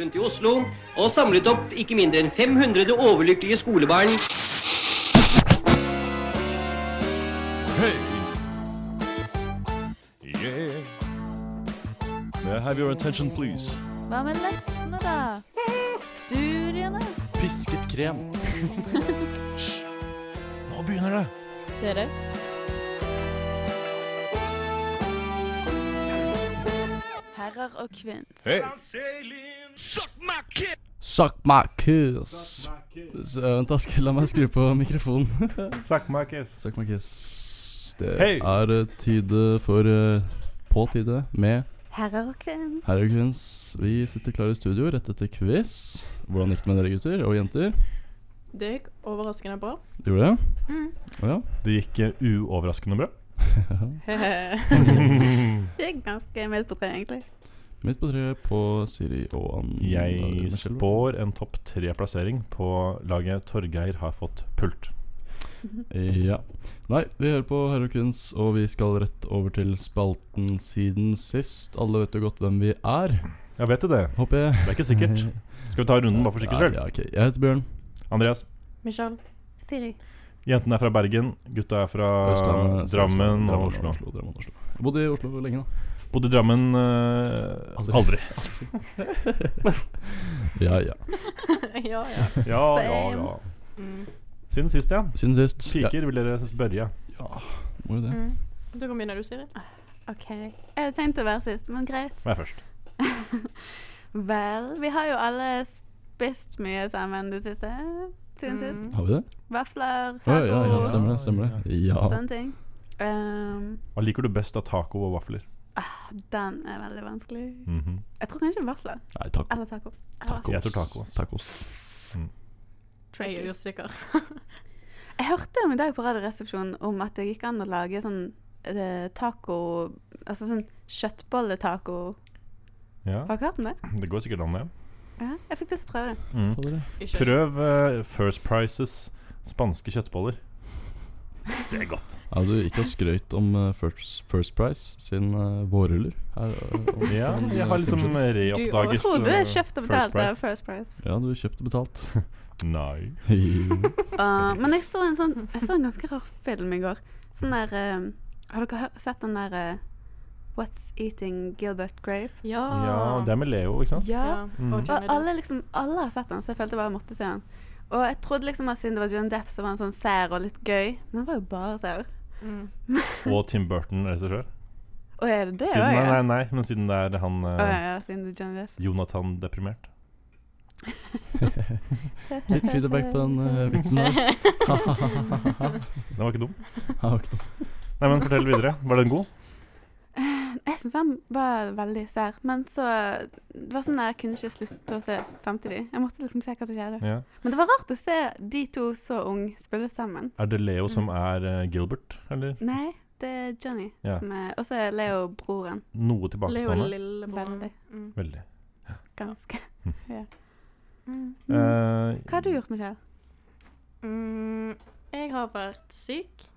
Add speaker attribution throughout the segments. Speaker 1: rundt i Oslo og samlet opp ikke mindre enn 500 overlykkelige skolebarn.
Speaker 2: Hey. Yeah. May I have your attention, please?
Speaker 3: Hva med leksene, da? Studiene?
Speaker 4: Pisket krem.
Speaker 2: Nå begynner det.
Speaker 3: Ser du? Herrer og kvinns.
Speaker 2: Hey.
Speaker 4: Suck my kiss. Vent, da. skal- La meg skru på mikrofonen.
Speaker 5: Suck my kiss.
Speaker 4: Suck my kiss. Det
Speaker 5: Hei.
Speaker 4: er eh, tide for eh, På tide med
Speaker 3: Herrer og kvinns.
Speaker 4: Herregrens. Vi sitter klare i studio rett etter quiz. Hvordan gikk det med dere, gutter og jenter?
Speaker 6: Det gikk overraskende bra.
Speaker 4: Det Gjorde det? Å Ja.
Speaker 5: Det gikk eh, uoverraskende bra.
Speaker 3: Det er ganske midt på treet, egentlig.
Speaker 4: Midt på treet på Siri og Ann.
Speaker 5: Jeg
Speaker 4: Michelle.
Speaker 5: spår en topp tre-plassering på laget Torgeir har fått pult.
Speaker 4: Ja. Nei, vi hører på Herrekunst, og vi skal rett over til spalten siden sist. Alle vet jo godt hvem vi er,
Speaker 5: Jeg vet det.
Speaker 4: håper jeg.
Speaker 5: Det er ikke sikkert. Skal vi ta runden bare for sikkerhets skyld?
Speaker 4: Ja, ja, ok. Jeg heter Bjørn.
Speaker 5: Ah, Andreas.
Speaker 6: Michelle.
Speaker 3: Siri.
Speaker 5: Jentene er fra Bergen, gutta er fra
Speaker 4: Østlandet,
Speaker 5: Drammen og
Speaker 4: Drammen,
Speaker 5: Oslo.
Speaker 4: Oslo, Drammen, Oslo. Jeg bodde i Oslo lenge, da.
Speaker 5: Bodde i Drammen eh,
Speaker 4: Aldri.
Speaker 5: aldri.
Speaker 4: Ja, ja.
Speaker 6: ja, ja.
Speaker 5: Ja, ja, ja.
Speaker 6: Mm.
Speaker 5: Siden sist, ja.
Speaker 4: Siden sist. Ja,
Speaker 5: Piker vil dere spørre.
Speaker 4: må jo det.
Speaker 6: Mm. Du kan begynne, du, Siri.
Speaker 3: OK. Jeg hadde tenkt å være sist, men greit.
Speaker 5: Hvem er først?
Speaker 3: Vel, vi har jo alle spist mye sammen det siste. Siden sist.
Speaker 4: Har vi det?
Speaker 3: Vafler,
Speaker 4: Å,
Speaker 3: taco,
Speaker 4: ja, ja, stemmer det. stemmer det Ja. Sånn.
Speaker 3: sånne ting. Ehm, ah,
Speaker 5: Hva liker du best av taco og vafler?
Speaker 3: den er veldig vanskelig.
Speaker 5: Mhm.
Speaker 3: Jeg tror kanskje vafler.
Speaker 4: Nei, taco.
Speaker 3: Eller taco.
Speaker 4: Tacos.
Speaker 5: Jeg tror taco, ass.
Speaker 4: Tacos.
Speaker 6: Jeg er usikker.
Speaker 3: Jeg hørte om i dag på Radioresepsjonen om at det gikk an å lage sånn eh, taco Altså sånn kjøttbolletaco.
Speaker 5: Ja,
Speaker 3: Har dere hørt om det?
Speaker 5: det går sikkert an, det.
Speaker 3: Ja, jeg fikk lyst til å prøve det.
Speaker 5: Mm.
Speaker 4: Fader, ja.
Speaker 6: Ikke.
Speaker 5: Prøv eh, First Prices spanske kjøttboller. Det er godt.
Speaker 4: Ja, du gikk og skrøyt om eh, First, first Price sin eh, vårruller. Her, eh, om-
Speaker 5: Ja,
Speaker 4: om, eh,
Speaker 5: jeg har liksom
Speaker 4: fortsatt.
Speaker 6: Du
Speaker 5: reoppdaget
Speaker 3: Tror du
Speaker 5: eh,
Speaker 3: er kjøpt og
Speaker 5: First
Speaker 3: betalt
Speaker 5: Price.
Speaker 3: av First Price?
Speaker 4: Ja, du kjøpte betalt.
Speaker 5: Nei.
Speaker 3: Ah, men jeg så en sånn Jeg så en ganske rar film i går. Sånn der eh, Har dere hø- sett den der eh, What's Eating Gilbert Grape?
Speaker 6: Ja.
Speaker 5: Ja,
Speaker 3: Ah.
Speaker 5: Mm. det er med Leo, ikke sant?
Speaker 6: Ja. Og Johnny
Speaker 3: Og
Speaker 6: Depp.
Speaker 3: alle, liksom, alle har sett den, så jeg følte jeg bare måtte se den. Og jeg trodde liksom at siden det var John Depp, så var han sånn sær og litt gøy. Men han var jo bare sær.
Speaker 6: Mm.
Speaker 5: Og Tim Burton, regissør.
Speaker 3: Og er det det
Speaker 5: Siden- Nei,
Speaker 3: også, ja?
Speaker 5: nei, nei, men siden det er han eh,
Speaker 3: Å ja, ja, siden det er Johnny Depp.
Speaker 5: Jonathan deprimert.
Speaker 4: Litt feedback på den eh, vitsen der.
Speaker 5: Den var ikke dum.
Speaker 4: Jeg har ikke noe.
Speaker 5: Nei, men fortell videre. Var den god?
Speaker 3: Jeg syns han var veldig sær, men så Det var sånn der jeg kunne ikke slutte å se samtidig. Jeg måtte liksom se hva som skjedde.
Speaker 5: Ja.
Speaker 3: Men det var rart å se de to så unge spille sammen.
Speaker 5: Er det Leo som er eh, Gilbert, eller
Speaker 3: Nei, det er Johnny
Speaker 5: Ja.
Speaker 3: som er Og så er Leo broren.
Speaker 5: noe
Speaker 6: Leo er
Speaker 5: tilbakestående?
Speaker 6: lillebroren.
Speaker 3: Veldig.
Speaker 6: Mm.
Speaker 5: Veldig.
Speaker 3: Ganske.
Speaker 6: Mm.
Speaker 5: Eh,
Speaker 3: Hva har du gjort, Michelle?
Speaker 6: Mm. Jeg har vært syk,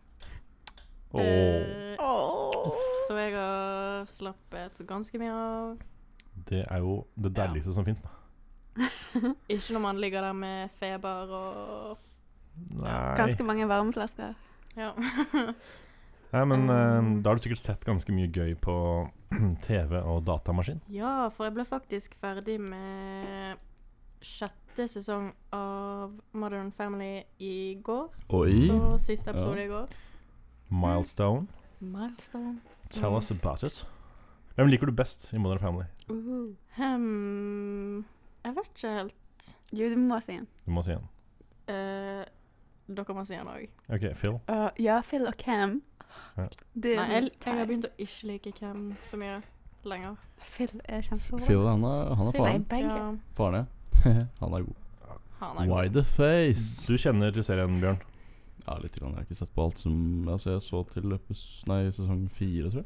Speaker 5: Åh,
Speaker 6: eh, så jeg har slappet ganske mye av.
Speaker 5: det er jo det deiligste som fins, da.
Speaker 6: Ikke når man ligger der med feber og
Speaker 5: Nei.
Speaker 3: Ganske mange varmeflasker.
Speaker 6: Ja.
Speaker 5: Nei, men
Speaker 6: Um.
Speaker 5: eh, da har du sikkert sett ganske mye gøy på TV og datamaskin.
Speaker 6: Ja, for jeg ble faktisk ferdig med sjette sesong av Modern Family i går.
Speaker 4: Oi.
Speaker 6: Så siste episode i går.
Speaker 5: Milestone.
Speaker 6: Milestone.
Speaker 5: Tell
Speaker 6: Mm.
Speaker 5: us about it. Hvem liker du best i Modern Family?
Speaker 3: Uh.
Speaker 6: Hmm, jeg vet ikke helt.
Speaker 3: Jo, du må si en.
Speaker 5: Du må si en.
Speaker 6: Eh, dere må si den òg.
Speaker 5: OK, Phil.
Speaker 3: Å, Uh, ja, Phil og Cam.
Speaker 5: Ja.
Speaker 3: Det
Speaker 6: Jeg, jeg,
Speaker 3: sånn-
Speaker 6: har begynt å ikke like hvem så mye lenger.
Speaker 3: Phil er kjempebra.
Speaker 4: Phil, han er, han er
Speaker 3: Phil er
Speaker 4: faren.
Speaker 3: begge.
Speaker 6: Ja,
Speaker 4: Faren, ja. Han er god.
Speaker 6: han er
Speaker 4: Why
Speaker 6: god.
Speaker 4: the face?
Speaker 5: Du kjenner til serien, Bjørn.
Speaker 4: Ja, litt grann. Jeg har ikke sett på alt som Altså, jeg så til epis- nei, sesong fire, tror jeg.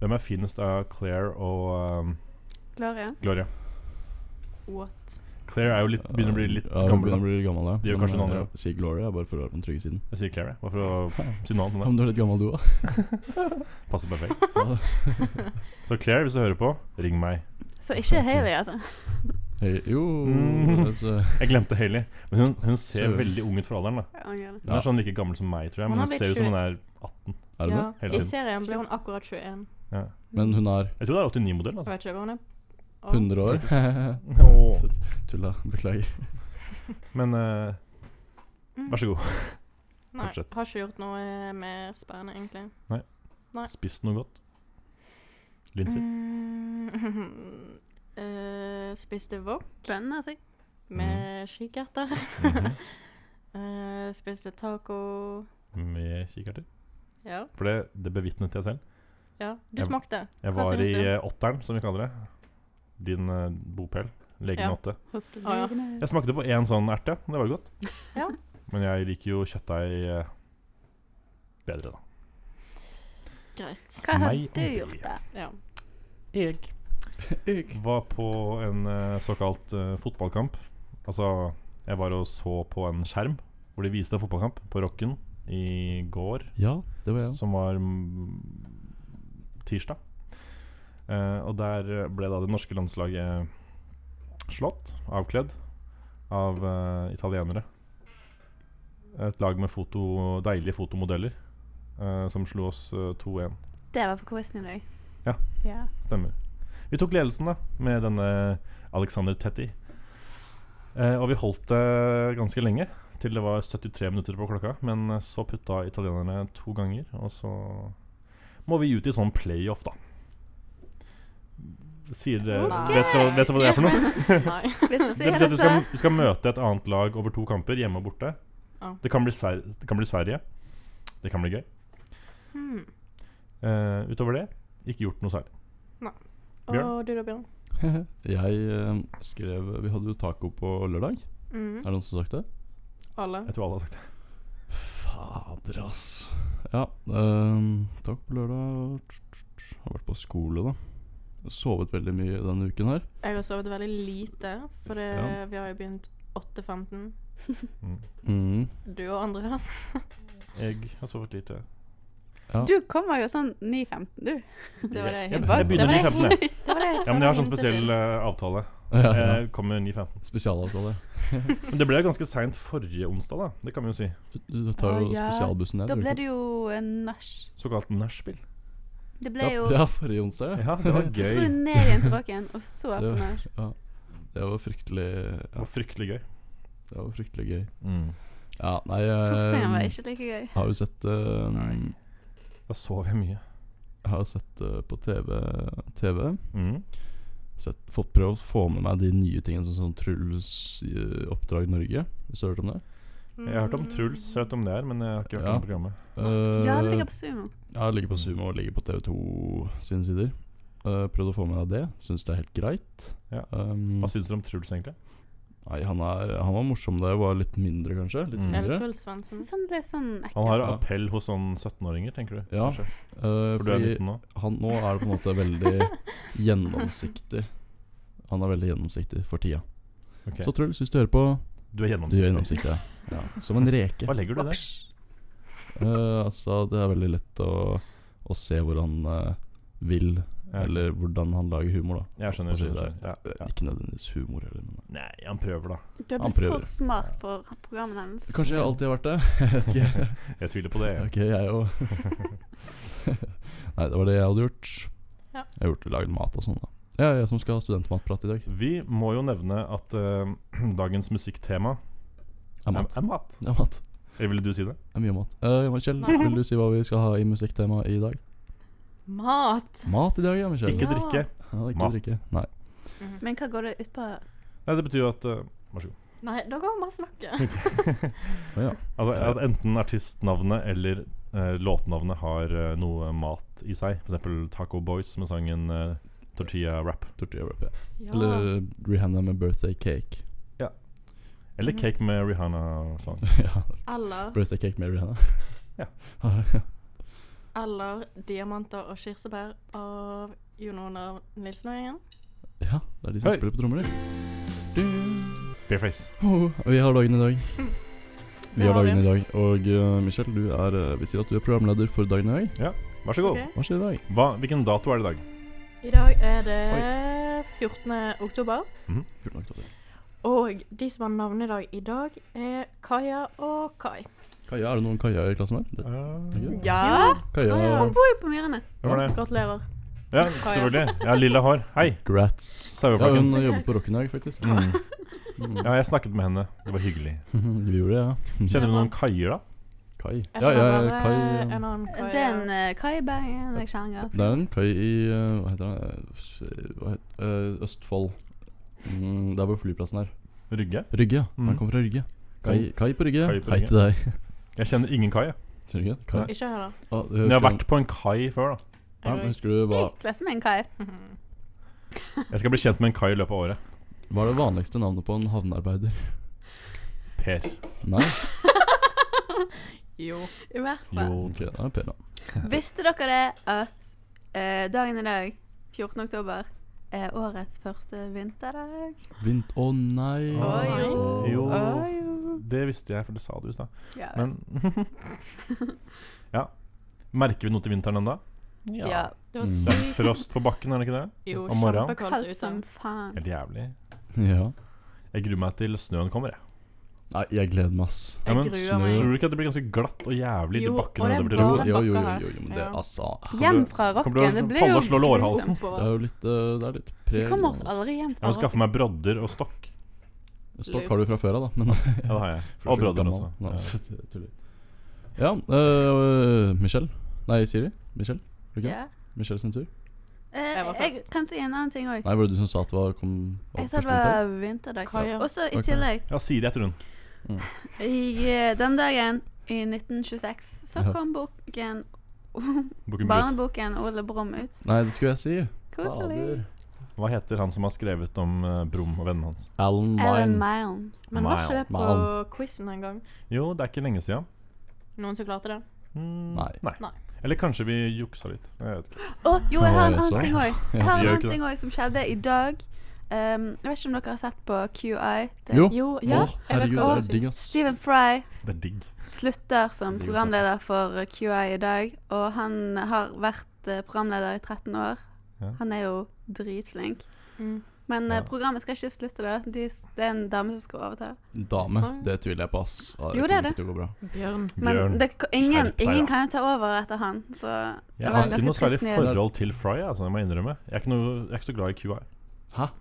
Speaker 5: Hvem er finest av Claire og um,
Speaker 3: Gloria.
Speaker 5: Gloria?
Speaker 6: What?
Speaker 5: Claire er jo litt, begynner å bli litt
Speaker 4: ja, hun
Speaker 5: gammel.
Speaker 4: Begynner å
Speaker 5: da.
Speaker 4: bli gammel, ja.
Speaker 5: De gjør
Speaker 4: Men,
Speaker 5: kanskje noe
Speaker 4: eh,
Speaker 5: annet,
Speaker 4: Jeg sier Glory, jeg, bare for å være på den trygge siden.
Speaker 5: Jeg sier Claire, jeg. Bare for å si noe
Speaker 4: Ja,
Speaker 5: annet om
Speaker 4: men du er litt gammel, du òg.
Speaker 5: det. Passer perfekt. Så Claire, hvis du hører på, ring meg.
Speaker 3: Så ikke Haley, altså.
Speaker 4: Hei, jo
Speaker 5: Mm.
Speaker 4: altså,
Speaker 5: Jeg glemte Hailey. Men hun, hun ser
Speaker 4: Ser-
Speaker 5: veldig ung ut for alderen. da
Speaker 3: Ja, han gjør det.
Speaker 5: Hun
Speaker 4: Ja.
Speaker 5: er sånn like gammel som meg, tror jeg.
Speaker 6: Hun
Speaker 5: Men
Speaker 6: har
Speaker 5: hun
Speaker 6: blitt
Speaker 5: ser ut som
Speaker 6: tjue-
Speaker 5: hun er 18.
Speaker 4: Er det
Speaker 6: Ja,
Speaker 4: det?
Speaker 5: Hele
Speaker 6: I
Speaker 5: tiden.
Speaker 6: serien ble hun akkurat 21.
Speaker 5: Ja.
Speaker 4: Men hun er
Speaker 5: Jeg tror det er 89-modell.
Speaker 6: Jeg
Speaker 5: altså
Speaker 6: vet ikke hva hun er. Og-
Speaker 4: 100 år.
Speaker 5: Åh.
Speaker 4: Tulla. Beklager.
Speaker 5: Men eh,
Speaker 6: Mm.
Speaker 5: vær så god.
Speaker 6: Nei,
Speaker 5: fortsett.
Speaker 6: har ikke gjort noe eh, mer spennende, egentlig. Nei.
Speaker 5: Spis noe godt. Linser.
Speaker 6: Mm. Eh, spiste wok
Speaker 3: Bønner seg.
Speaker 5: Mhm.
Speaker 6: med kikerter. Eh, spiste taco.
Speaker 5: Med kikerter.
Speaker 6: Ja.
Speaker 5: For det, det bevitnet jeg selv.
Speaker 6: ja. Du
Speaker 5: Jeg-
Speaker 6: smakte.
Speaker 5: Jeg
Speaker 6: Hva
Speaker 5: var
Speaker 6: synes
Speaker 5: i
Speaker 6: du?
Speaker 5: eh, åtteren, som vi kaller det. Din eh, bopel. Legen
Speaker 6: Ja.
Speaker 5: åtte.
Speaker 3: Hos
Speaker 6: Å, ja.
Speaker 3: legene.
Speaker 5: Jeg smakte på én sånn erte. Det var jo godt.
Speaker 6: Ja.
Speaker 5: Men jeg liker jo kjøttdeig eh, bedre, da.
Speaker 6: Greit.
Speaker 3: Hva har
Speaker 5: Meg og
Speaker 3: du
Speaker 5: det.
Speaker 3: gjort, da?
Speaker 6: Ja.
Speaker 5: Jeg var på en eh, såkalt eh, fotballkamp. Altså, jeg var og så på en skjerm hvor de viste en fotballkamp på Rocken i går.
Speaker 4: Ja, det var jeg.
Speaker 5: som var mm, tirsdag. Eh, og der eh, ble da det norske landslaget slått, avkledd, av eh, italienere. Et lag med foto, deilige fotomodeller eh, som slo oss eh, 2-1.
Speaker 3: Det var på quizen i dag.
Speaker 5: Ja.
Speaker 3: ja.
Speaker 5: Stemmer. Vi tok ledelsen da med denne Alexander Tetti. Eh, og vi holdt det ganske lenge, til det var 73 minutter på klokka. Men eh, så putta italienerne to ganger, og så må vi ut i sånn playoff, da. Sier dere
Speaker 6: Ok.
Speaker 5: Eh, vet, dere- vet dere hva det er for noe?
Speaker 6: Nei.
Speaker 3: Hvis du
Speaker 5: Det
Speaker 3: sier
Speaker 5: betyr at
Speaker 3: det,
Speaker 5: vi
Speaker 6: altså-
Speaker 3: så
Speaker 5: skal, vi skal møte et annet lag over to kamper, hjemme og borte.
Speaker 6: Ja.
Speaker 5: Det kan bli, Sver det kan bli Sverige. Det kan bli gøy.
Speaker 6: Hmm.
Speaker 5: Eh, utover det, ikke gjort noe særlig. Bjørn?
Speaker 6: Og du da, Bjørn?
Speaker 4: Jeg eh, skrev Vi hadde jo taco på lørdag.
Speaker 6: Mm.
Speaker 4: Er det noen som har sagt det?
Speaker 6: Alle.
Speaker 5: Jeg tror alle har sagt det.
Speaker 4: Fader, ass. Ja, ehm, taco på lørdag. Har vært på skole, da. Sovet veldig mye denne uken her.
Speaker 6: Jeg har sovet veldig lite, for det,
Speaker 4: Ja.
Speaker 6: vi har jo begynt 8.15.
Speaker 4: Mm.
Speaker 6: Du og altså. Andreas.
Speaker 5: Jeg har sovet lite.
Speaker 4: Ja.
Speaker 3: Du kommer jo sånn 9.15, du.
Speaker 6: Det var det
Speaker 5: Jeg,
Speaker 6: hintet-
Speaker 5: jeg begynner
Speaker 6: det
Speaker 5: 9.15,
Speaker 6: var det-
Speaker 5: jeg.
Speaker 6: det var det
Speaker 5: Ja, men jeg har sånn
Speaker 6: hintet
Speaker 5: spesiell
Speaker 6: til.
Speaker 5: eh, avtale. Eh,
Speaker 4: Ja, ja.
Speaker 5: Jeg kommer 9.15.
Speaker 4: Spesialavtale.
Speaker 5: Men det ble jo ganske seint forrige onsdag, da. Det kan vi jo si.
Speaker 4: Du, du tar
Speaker 3: Å,
Speaker 4: jo
Speaker 3: ja.
Speaker 4: spesialbussen ned.
Speaker 3: Da
Speaker 4: gjør du
Speaker 3: ble
Speaker 4: ikke
Speaker 3: det jo en nach.
Speaker 5: Såkalt nachspiel.
Speaker 3: Det
Speaker 4: det?
Speaker 3: ble jo
Speaker 4: Ja, forrige onsdag.
Speaker 5: Ja, det var
Speaker 3: Jeg dro
Speaker 5: gøy.
Speaker 3: ned igjen til Råken, og så på
Speaker 4: Det-
Speaker 3: nach.
Speaker 4: Det var fryktelig
Speaker 5: Det
Speaker 4: ja,
Speaker 5: var fryktelig gøy.
Speaker 4: Det var fryktelig gøy.
Speaker 5: Mm.
Speaker 4: Ja, nei
Speaker 3: Torsdagen var
Speaker 4: jeg
Speaker 3: ikke like gøy.
Speaker 4: har jo sett eh,
Speaker 5: Nei. Da sov jeg mye.
Speaker 4: Har jo sett eh, på TV, TV.
Speaker 5: Mm.
Speaker 4: Sett, Fått prøvd å få med meg de nye tingene Sånn som Truls eh, Oppdrag Norge Hvis du har hørt om det
Speaker 5: eh, Jeg har hørt
Speaker 6: Mm.
Speaker 5: om Truls, jeg vet om det er, men jeg har ikke hørt
Speaker 4: Ja.
Speaker 5: om programmet.
Speaker 4: Eh,
Speaker 3: Ja, det ligger på Sumo.
Speaker 4: ja, det ligger på Sumo og ligger på TV2 sine sider Eh, Prøvd å få med meg det Synes det er helt greit
Speaker 5: Ja. Altså-
Speaker 4: um,
Speaker 5: Hva syns dere om Truls, egentlig?
Speaker 4: Nei, han, er, han var morsom da jeg var litt mindre kanskje Litt
Speaker 5: Mm.
Speaker 6: Eller
Speaker 4: yngre
Speaker 6: Truls
Speaker 3: Jeg
Speaker 6: Svendsen.
Speaker 3: synes han ble sånn
Speaker 5: Han
Speaker 3: ekkel.
Speaker 5: har
Speaker 4: Ja.
Speaker 5: appell hos sånn 17-åringer, tenker du?
Speaker 4: Ja,
Speaker 5: kanskje?
Speaker 4: Eh,
Speaker 5: For du er
Speaker 4: fordi
Speaker 5: 19 nå?
Speaker 4: han, nå er det på en måte veldig gjennomsiktig Han er veldig gjennomsiktig for tida
Speaker 5: Ok.
Speaker 4: Så Truls, hvis du hører på
Speaker 5: Du er
Speaker 4: Du gjør
Speaker 5: gjennomsiktig.
Speaker 4: gjennomsiktig, ja. ja. Som en reke
Speaker 5: Hva legger du i det?
Speaker 4: Eh, altså, det er veldig lett å, å se hvor han eh, vil,
Speaker 5: Ja,
Speaker 4: eller hvordan han lager humor, da.
Speaker 5: Jeg skjønner.
Speaker 4: Hva sier
Speaker 5: skjønner,
Speaker 4: du
Speaker 5: skjønner. Ja, ja.
Speaker 4: Ikke nødvendigvis humor heller, men
Speaker 5: Nei, han prøver, da.
Speaker 3: Du har
Speaker 4: Han
Speaker 3: blitt
Speaker 4: prøver.
Speaker 3: for smart for programmet hennes.
Speaker 4: Kanskje jeg alltid har vært det? Jeg vet ikke.
Speaker 5: Jeg tviler på det. jeg.
Speaker 4: Ok, jeg òg. Nei, det var det jeg hadde gjort.
Speaker 6: Ja.
Speaker 4: Jeg har gjort lagd mat og sånn, da. Det er jeg som skal ha studentmatprat i dag.
Speaker 5: Vi må jo nevne at eh, dagens musikktema
Speaker 4: Er mat.
Speaker 5: er mat.
Speaker 4: Det er mat.
Speaker 5: Eller ville du si det?
Speaker 4: Det er mye mat. Eh, Michelle, vil du si hva vi skal ha i musikktemaet i dag?
Speaker 6: Mat!
Speaker 4: Mat i dag, ja, Michelle.
Speaker 5: Ikke
Speaker 6: Ja.
Speaker 5: drikke.
Speaker 4: ja, ikke
Speaker 5: mat.
Speaker 4: drikke. Nei.
Speaker 3: Men hva går det ut på?
Speaker 5: Nei, det betyr jo at eh, Vær så god.
Speaker 6: Nei, da går vi og snakker.
Speaker 4: Å ja.
Speaker 5: Altså, at enten artistnavnet eller eh, låtnavnet har eh, noe mat i seg. For eksempel Taco Boys med sangen eh, Tortilla Wrap.
Speaker 4: Tortilla wrap, ja.
Speaker 6: Ja.
Speaker 4: Eller eh, Rihanna med birthday cake.
Speaker 6: Mhm.
Speaker 5: Eller Cake med Rihanna-sang.
Speaker 4: ja,
Speaker 6: Eller,
Speaker 4: Birthday cake med Rihanna.
Speaker 5: Ja.
Speaker 6: eller Diamanter og kirsebær av Jon Onar Nilsen og gjengen.
Speaker 4: ja, det er de som
Speaker 5: Hei.
Speaker 4: spiller på trommer, de. Du.
Speaker 5: Bareface.
Speaker 4: Oh, vi har dagen i dag. Vi
Speaker 6: Det
Speaker 4: har
Speaker 6: har
Speaker 4: dagen i dag. Og eh, Michelle, du er, eh, vi sier at du er programleder for dagen i dag.
Speaker 5: Vær så god.
Speaker 6: Ok.
Speaker 4: Hva skjer i dag?
Speaker 5: Hva, hvilken dato er det i dag?
Speaker 6: I dag er det 14. oktober.
Speaker 4: 14. oktober.
Speaker 6: Og de som har navnedag i dag, er Kaja og Kai.
Speaker 4: Kaja, er det noen Kaja i klassen her? Det-
Speaker 5: Eh,
Speaker 3: Ja!
Speaker 4: Kaja eh,
Speaker 6: Kaja.
Speaker 3: Bor jo på Myrene.
Speaker 5: Hvem var det?
Speaker 6: Gratulerer.
Speaker 5: Ja, selvfølgelig. Ja, lilla hår. Hei,
Speaker 4: Grats. Ja,
Speaker 5: saueflokken.
Speaker 4: hun jobber på Rockenhag, faktisk.
Speaker 5: Mm.
Speaker 4: Mm.
Speaker 5: Ja, jeg snakket med henne. Det var hyggelig.
Speaker 4: Mhm, Du gjorde det, ja.
Speaker 5: Kjenner du noen kaier, da?
Speaker 4: Kai.
Speaker 6: Jeg
Speaker 4: Ja,
Speaker 6: kjenner
Speaker 4: ja,
Speaker 6: bare
Speaker 4: Kai.
Speaker 6: en
Speaker 4: eh,
Speaker 6: annen Kai.
Speaker 3: Det er en eh, kai i Bergen. Jeg kjenner
Speaker 4: Det er en kai i eh, Hva heter den? Eh, Hva heter, eh, Østfold. Mm, der hvor flyplassen er.
Speaker 5: Rygge?
Speaker 4: Rygge, ja.
Speaker 5: Mm.
Speaker 4: Han kommer fra Rygge. Kai, kai på Rygge.
Speaker 5: Kai på
Speaker 4: Hei
Speaker 5: Rygge.
Speaker 4: til deg.
Speaker 5: Jeg kjenner ingen kai. jeg.
Speaker 4: Kjenner du ikke?
Speaker 3: eh,
Speaker 4: Kai.
Speaker 6: Ikke jeg, da.
Speaker 4: Ah, du
Speaker 5: Men jeg har
Speaker 4: husker
Speaker 5: vært på en kai før, da.
Speaker 4: han- Ja, men husker du hva,
Speaker 3: Jeg kler meg en kai.
Speaker 5: Jeg skal bli kjent med en kai i løpet av året.
Speaker 4: hva er det vanligste navnet på en havnearbeider?
Speaker 5: Per.
Speaker 4: Nei?
Speaker 6: Jo.
Speaker 3: I hvert fall.
Speaker 5: Jo.
Speaker 4: Ok, da er det Per, da.
Speaker 3: Visste dere det at eh, dagen i dag, 14. oktober, er årets første vinterdag?
Speaker 4: Vint... Å nei!
Speaker 3: Å jo.
Speaker 5: Jo.
Speaker 3: Å jo.
Speaker 5: Det visste jeg, for det sa du i stad.
Speaker 3: Ja.
Speaker 5: Men Ja. Merker vi noe til vinteren ennå?
Speaker 3: ja.
Speaker 6: Det var
Speaker 4: Mm.
Speaker 5: Det er
Speaker 6: sykt
Speaker 5: frost på bakken, er det ikke det?
Speaker 6: jo
Speaker 5: Om morgenen?
Speaker 6: kjempekaldt
Speaker 3: Kaldt
Speaker 6: ute.
Speaker 3: som faen.
Speaker 5: Helt jævlig.
Speaker 4: Ja.
Speaker 5: Jeg gruer meg til snøen kommer, jeg.
Speaker 4: Nei, jeg gleder meg, ass.
Speaker 5: Ja, men
Speaker 6: Jeg gruer
Speaker 4: snø-
Speaker 6: meg.
Speaker 5: Tror du ikke at det blir ganske glatt og jævlig
Speaker 6: Jo,
Speaker 5: i
Speaker 6: og
Speaker 5: bakken
Speaker 6: det er
Speaker 5: nedover til
Speaker 4: Jo,
Speaker 6: bare-
Speaker 5: Røa?
Speaker 4: jo, jo, jo, jo, men det
Speaker 6: Ja.
Speaker 4: Altså,
Speaker 3: Hjem fra rocken.
Speaker 5: kommer du til å
Speaker 3: Det blir
Speaker 5: falle
Speaker 3: jo
Speaker 5: og slå lårhalsen?
Speaker 3: grusomt.
Speaker 4: det er jo litt eh, Det er litt
Speaker 3: Vi
Speaker 4: preg
Speaker 3: kommer oss aldri hjem
Speaker 5: Jeg
Speaker 3: fra
Speaker 5: må skaffe meg brodder og stokk.
Speaker 4: Stokk har du fra før av, da. Men
Speaker 5: Ja, det har jeg.
Speaker 4: For
Speaker 5: Og
Speaker 4: å
Speaker 5: brodder
Speaker 4: være
Speaker 5: også.
Speaker 4: gammel.
Speaker 5: Ja.
Speaker 4: Nei, jeg tuller. Ja, øh, Michelle. Nei, Siri. Michelle. Ikke?
Speaker 3: Ja.
Speaker 4: Michelle sin tur.
Speaker 3: Eh,
Speaker 6: Jeg var
Speaker 3: jeg
Speaker 6: først.
Speaker 3: kan si en annen ting òg.
Speaker 4: Nei, var det du som sa at det var kom var
Speaker 3: Jeg sa det
Speaker 4: første vinter?
Speaker 3: var vinterdag.
Speaker 6: Kaja.
Speaker 3: Og så i
Speaker 4: Ok.
Speaker 3: tillegg,
Speaker 5: ja, Siri heter hun.
Speaker 3: i, eh, den dagen i 1926, så
Speaker 4: Ja.
Speaker 3: kom boken
Speaker 5: Bukken Brus.
Speaker 3: Barneboken Ole Brumm ut.
Speaker 4: Nei, det skulle jeg si.
Speaker 3: Koselig.
Speaker 5: Hva heter han som har skrevet om eh, Brum og vennene hans?
Speaker 4: Alan
Speaker 3: Ellen
Speaker 4: Mine.
Speaker 3: Milne.
Speaker 6: Men var ikke det på
Speaker 4: Mal.
Speaker 6: quizen en gang?
Speaker 5: Jo, det er ikke lenge siden.
Speaker 6: Noen som klarte det?
Speaker 5: Mm,
Speaker 4: Nei.
Speaker 6: Nei.
Speaker 5: Eller kanskje vi juksa litt. Jeg vet ikke.
Speaker 3: Å, jo, jeg har en
Speaker 4: Oi, så.
Speaker 3: annen ting òg. Jeg
Speaker 4: Ja.
Speaker 3: har en
Speaker 5: Gjør ikke
Speaker 3: annen ting også som skjedde i dag. Um, jeg vet ikke om dere har sett på QI. Det-
Speaker 4: Jo.
Speaker 6: Jo,
Speaker 3: Ja.
Speaker 4: Å,
Speaker 6: jeg vet
Speaker 4: herregud,
Speaker 6: hva
Speaker 4: det
Speaker 6: du
Speaker 4: er digg,
Speaker 6: sier.
Speaker 4: ass.
Speaker 3: Stephen Fry
Speaker 5: Det er digg.
Speaker 3: slutter som
Speaker 4: Det er jo
Speaker 3: programleder for QI i dag, og han har vært eh, programleder i 13 år.
Speaker 5: Ja.
Speaker 3: Han er jo dritflink.
Speaker 6: Mm.
Speaker 3: Men eh,
Speaker 5: Ja.
Speaker 3: programmet skal ikke slutte, da. De, det er en dame som skal overta.
Speaker 4: Dame. Det tviler jeg på, ass. Ja,
Speaker 3: Jo, det er
Speaker 4: kommer ikke til å gå bra.
Speaker 6: Bjørn.
Speaker 3: Men
Speaker 5: Bjørn,
Speaker 3: det, ingen,
Speaker 5: skjerp deg, da.
Speaker 3: ingen kan jo ta over etter han, så det
Speaker 5: Jeg
Speaker 3: var
Speaker 5: har
Speaker 3: en
Speaker 5: ikke
Speaker 3: ganske
Speaker 5: noe særlig
Speaker 3: trist nyhet.
Speaker 5: forhold til Fry, altså, jeg må innrømme. Jeg er ikke, noe, jeg er ikke så glad i QI.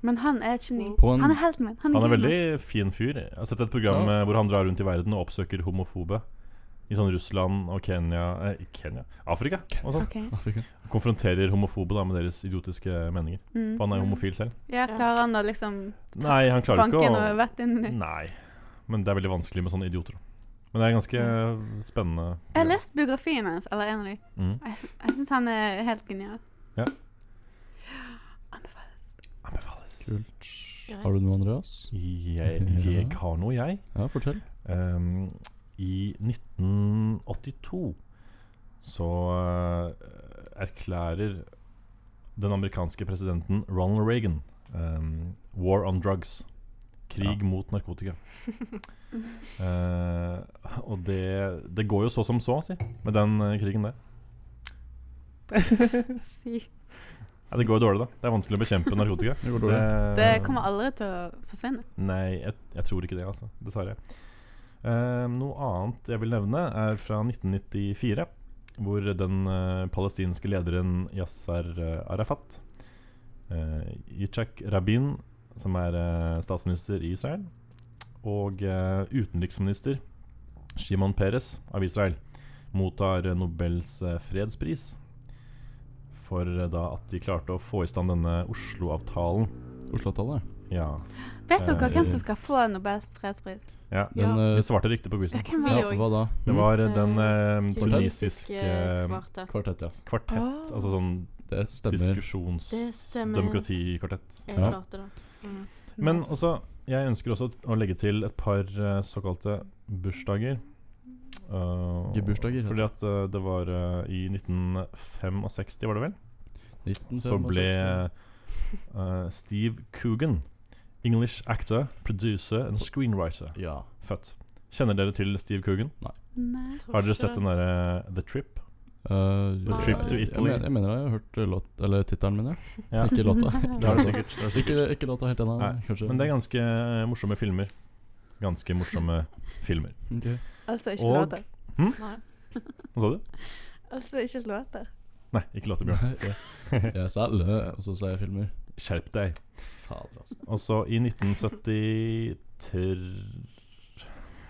Speaker 3: Men han er et geni.
Speaker 4: På en-
Speaker 3: Han er helten min. Han er,
Speaker 5: Han er
Speaker 3: guden.
Speaker 5: veldig fin fyr. Jeg har sett et program eh, hvor han drar rundt i verden og oppsøker homofobe. I sånn Russland og Kenya eh, Kenya? Afrika og sånn.
Speaker 3: Ok.
Speaker 4: Afrika.
Speaker 5: Konfronterer homofobe da med deres idiotiske meninger.
Speaker 3: Mm.
Speaker 5: For han er jo homofil selv.
Speaker 3: Ja, klarer han å liksom
Speaker 5: Nei, han klarer
Speaker 3: banke
Speaker 5: ikke
Speaker 3: noe
Speaker 5: å
Speaker 3: vett inn i
Speaker 5: Nei. Men det er veldig vanskelig med sånne idioter. da. Men det er ganske eh, spennende.
Speaker 3: Jeg har lest biografien hans, eller en av de.
Speaker 5: Mm.
Speaker 3: Jeg, sy- jeg syns han er helt genial.
Speaker 5: Ja.
Speaker 3: Anbefales.
Speaker 5: Anbefales.
Speaker 4: Kult. Har du noe, Andreas?
Speaker 5: Jeg, jeg har noe, jeg.
Speaker 4: Ja, fortell.
Speaker 5: Ehm, I 1982 så eh, erklærer den amerikanske presidenten Ronald Reagan ehm, war on drugs. Krig mot narkotika. Eh, og det, det går jo så som så, si, med den eh, krigen der.
Speaker 3: Si.
Speaker 5: Nei, det går jo dårlig, da. Det er vanskelig å bekjempe narkotika.
Speaker 4: Det går dårlig.
Speaker 3: Det
Speaker 5: Eh.
Speaker 3: kommer aldri til å forsvinne.
Speaker 5: Nei, jeg, jeg tror ikke det, altså. Dessverre. Eh, noe annet jeg vil nevne, er fra 1994, hvor den eh, palestinske lederen Yasser eh, Arafat eh, Yitzhak Rabin, som er eh, statsminister i Israel, og eh, utenriksminister Shimon Peres av Israel, mottar eh, Nobels eh, fredspris for eh, da at de klarte å få i stand denne Oslo-avtalen.
Speaker 4: Oslo-tallet.
Speaker 5: Ja.
Speaker 3: Vet dere
Speaker 5: Eh,
Speaker 3: hvem som skal få Nobels fredspris?
Speaker 5: ja.
Speaker 4: Den
Speaker 6: Ja.
Speaker 4: eh,
Speaker 5: Vi svarte riktig på quizen.
Speaker 3: Ja, hvem var
Speaker 6: Vi
Speaker 3: det?
Speaker 4: ja,
Speaker 6: òg.
Speaker 4: Hva da?
Speaker 5: Det var eh, den eh,
Speaker 6: Tunisiske
Speaker 5: tunisiske eh,
Speaker 6: kvartett.
Speaker 4: Kvartett, ja.
Speaker 5: kvartett.
Speaker 3: Ah.
Speaker 5: Altså sånn
Speaker 4: Det stemmer.
Speaker 6: Det stemmer.
Speaker 5: diskusjonsdemokratikvartett.
Speaker 6: Jeg
Speaker 4: Ja.
Speaker 6: klarte det. Mm.
Speaker 5: Men også, jeg ønsker også å legge til et par eh, såkalte bursdager. Eh,
Speaker 4: Gebursdager, heter
Speaker 5: Fordi at eh, det var eh, i 1965, var det vel, så
Speaker 4: 1965.
Speaker 5: ble eh, Steve Coogan, English actor, producer and screenwriter,
Speaker 4: Ja.
Speaker 5: født. Kjenner dere til Steve Coogan?
Speaker 3: Nei.
Speaker 5: Har dere sett den derre The Trip?
Speaker 4: Eh,
Speaker 6: A
Speaker 5: Trip to
Speaker 4: jeg-
Speaker 5: Italy.
Speaker 4: Jeg, mener- jeg mener jeg har hørt låt, eller tittelen min, jeg.
Speaker 5: Ja.
Speaker 4: Ikke låta.
Speaker 5: Det har du sikkert. Det har du sikkert.
Speaker 4: Ikke, ikke låta helt ennå,
Speaker 5: Nei,
Speaker 4: kanskje.
Speaker 5: Men det er ganske eh, morsomme filmer. Ganske morsomme filmer.
Speaker 4: Ok.
Speaker 3: Altså ikke
Speaker 5: Og-
Speaker 3: låter.
Speaker 6: Nei.
Speaker 5: Hva sa du?
Speaker 3: Altså ikke låter.
Speaker 5: Nei, ikke låter, Bjørn.
Speaker 4: Jeg- Jeg sa lø, og så sa jeg filmer.
Speaker 5: Skjerp deg.
Speaker 4: Fader, altså.
Speaker 5: Og så i 1973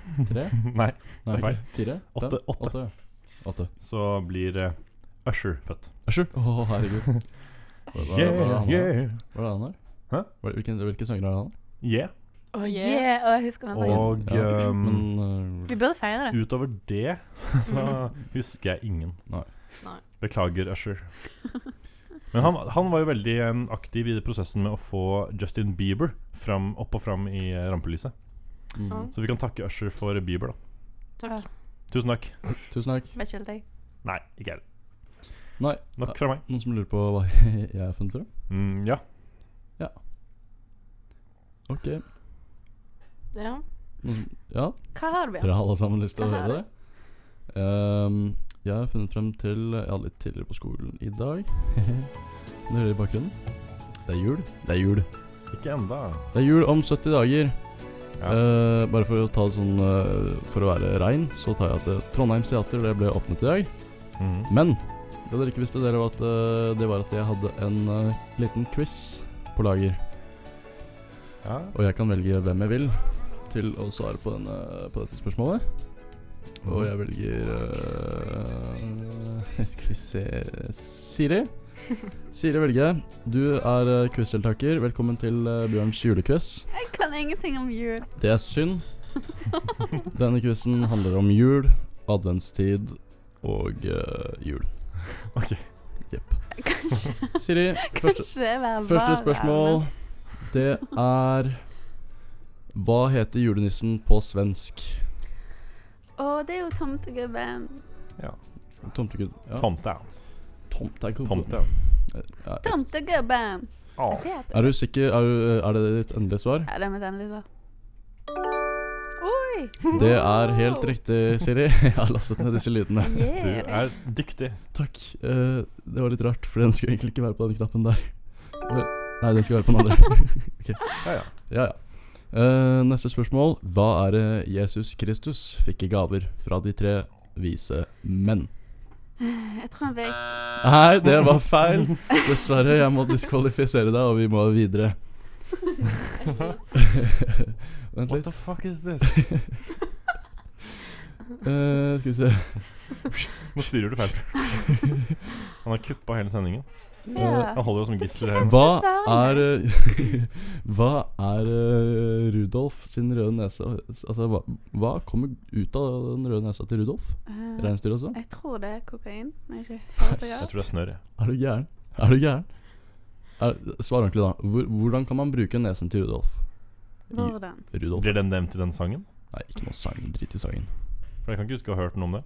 Speaker 4: Tre?
Speaker 5: Nei,
Speaker 4: Nei,
Speaker 5: Det er feil.
Speaker 4: ikke. Fire?
Speaker 5: Åtte,
Speaker 4: Fem?
Speaker 5: åtte.
Speaker 4: Åtte. ja. Åtte.
Speaker 5: så blir eh, Usher født.
Speaker 4: Asher. Å, herregud. Hva, hva, hva, er det
Speaker 5: Yeah,
Speaker 4: han har?
Speaker 5: yeah,
Speaker 4: hva er det han har?
Speaker 5: Hæ?
Speaker 4: Hva- Hvilken, hvilke sanger er det han har?
Speaker 5: yeah.
Speaker 3: Å,
Speaker 6: Yeah.
Speaker 3: yeah. Å, jeg husker den dagen.
Speaker 5: Og
Speaker 4: Ja,
Speaker 5: ehm,
Speaker 4: men eh,
Speaker 3: Vi burde feire det.
Speaker 5: utover det så husker jeg ingen.
Speaker 4: Nei.
Speaker 6: Nei.
Speaker 5: Beklager, Usher. Men han, han var jo veldig eh, aktiv i prosessen med å få Justin Bieber fram, opp og fram i eh, rampelyset.
Speaker 4: eh,
Speaker 6: Ja.
Speaker 4: mm.
Speaker 5: Så vi kan takke Usher for Bieber, da.
Speaker 6: Takk.
Speaker 5: Tusen takk.
Speaker 4: Tusen takk.
Speaker 3: Vet ikke helt jeg.
Speaker 5: Nei, ikke jeg.
Speaker 4: Nei,
Speaker 5: Nok fra meg.
Speaker 4: noen som lurer på hva jeg har funnet frem?
Speaker 5: Mm, ja.
Speaker 4: Ok.
Speaker 6: Ja.
Speaker 4: Noen som, ja,
Speaker 3: Hva har du, Bjørn?
Speaker 4: dere har alle sammen lyst til å
Speaker 3: Hva har
Speaker 4: høre det? Ehm, jeg har funnet frem til Jeg hadde litt tidligere på skolen i dag. Dere hører i bakgrunnen. Det er jul. Det er jul.
Speaker 5: Ikke enda.
Speaker 4: Det er jul om 70 dager.
Speaker 5: Ja.
Speaker 4: Eh, bare for å ta det sånn eh, For å være rein, så tar jeg at eh, Trondheims teater det ble åpnet i dag.
Speaker 5: Mm.
Speaker 4: Men det dere ikke visste, dere var at, eh, det var at jeg hadde en eh, liten quiz på lager.
Speaker 5: Ja.
Speaker 4: Og jeg kan velge hvem jeg vil til å svare på, denne, på dette spørsmålet. Og jeg velger eh, Skal vi se Siri. Siri velger jeg. Du er eh, quizdeltaker. Velkommen til eh, Bjørns julequiz.
Speaker 3: Jeg kan ingenting om jul.
Speaker 4: Det er synd. Denne quizen handler om jul, adventstid og eh, jul.
Speaker 5: Ok.
Speaker 4: Jepp.
Speaker 3: Kanskje,
Speaker 4: Siri, første,
Speaker 3: kanskje være
Speaker 4: første
Speaker 3: bare-
Speaker 4: spørsmål. Det er Hva heter julenissen på svensk?
Speaker 3: Å, det er jo tomtegubben.
Speaker 4: Tomtegud... Ja.
Speaker 5: Tomte, ja.
Speaker 4: Tomt er god.
Speaker 5: Tomte, ja.
Speaker 4: Ja, jeg-
Speaker 3: Tomtegubben!
Speaker 5: Å,
Speaker 3: Jeg vet
Speaker 4: er
Speaker 3: det.
Speaker 4: du sikker? Er, du, eh, er det ditt endelige svar?
Speaker 3: Ja, det er mitt endelige svar. Oi!
Speaker 4: Det er helt riktig, Siri. Jeg har lastet ned disse lydene.
Speaker 5: Du
Speaker 3: Yeah.
Speaker 5: er dyktig.
Speaker 4: Takk. Eh, det var litt rart, for den skulle egentlig ikke være på den knappen der. Eller, Nei, den skulle være på den andre. Ok.
Speaker 5: Ja, ja.
Speaker 4: Ja, ja. Eh, neste spørsmål. Hva er det Jesus Kristus fikk i gaver fra de tre vise menn?
Speaker 3: Jeg tror han fikk
Speaker 4: Nei, det var feil. Dessverre, jeg må diskvalifisere deg, og vi må videre.
Speaker 5: What
Speaker 4: Vent litt.
Speaker 5: the fuck is this?
Speaker 4: Eh, skal vi se.
Speaker 5: Nå styrer du feil. Han har kuppa hele sendingen.
Speaker 3: Ja.
Speaker 5: Han holder oss som gisler her. nå.
Speaker 4: Hva
Speaker 3: besvær
Speaker 4: er eh, Hva er eh, Rudolf sin røde nese Altså, hva, hva kommer ut av den røde nesa til Rudolf?
Speaker 3: Eh,
Speaker 4: Reinsdyr også?
Speaker 3: Jeg tror det er kokain. Men jeg er ikke helt sikker.
Speaker 5: Jeg tror det er snørr. jeg.
Speaker 4: Er du gæren? Er du gæren? Er, svar ordentlig, da. Hvor, hvordan kan man bruke nesen til Rudolf?
Speaker 3: Hvordan?
Speaker 4: Rudolf
Speaker 5: Blir den nevnt i den sangen?
Speaker 4: Nei, ikke noe sang. Drit i sangen.
Speaker 5: For jeg kan ikke huske å ha hørt noe om det.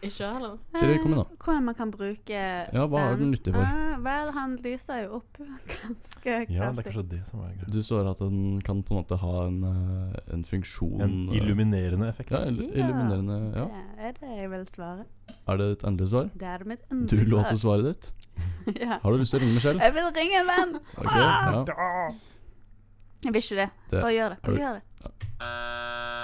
Speaker 6: Ikke jeg heller.
Speaker 4: Siri, kom igjen, da.
Speaker 3: Eh, Hvordan man kan bruke
Speaker 4: Ja, hva er den nyttig for?
Speaker 3: Eh, vel, han lyser jo opp ganske kraftig.
Speaker 5: Ja, det er kanskje det som er greia.
Speaker 4: Du svarer at den kan på en måte ha en, eh, en funksjon
Speaker 5: En
Speaker 4: eh,
Speaker 5: illuminerende effekt.
Speaker 4: Ja, ill- illuminerende. Ja.
Speaker 3: Det er det jeg vil svare.
Speaker 4: Er det et endelig svar?
Speaker 3: Det er mitt
Speaker 4: Du
Speaker 3: endelige
Speaker 4: låser svaret ditt.
Speaker 3: ja.
Speaker 4: Har du lyst til å ringe Michelle?
Speaker 3: Jeg vil ringe en venn!
Speaker 4: Ok, ja.
Speaker 3: Jeg vil ikke det.
Speaker 4: Det-
Speaker 3: Bare gjør det.
Speaker 4: er
Speaker 3: Bare
Speaker 4: du-
Speaker 3: gjør det.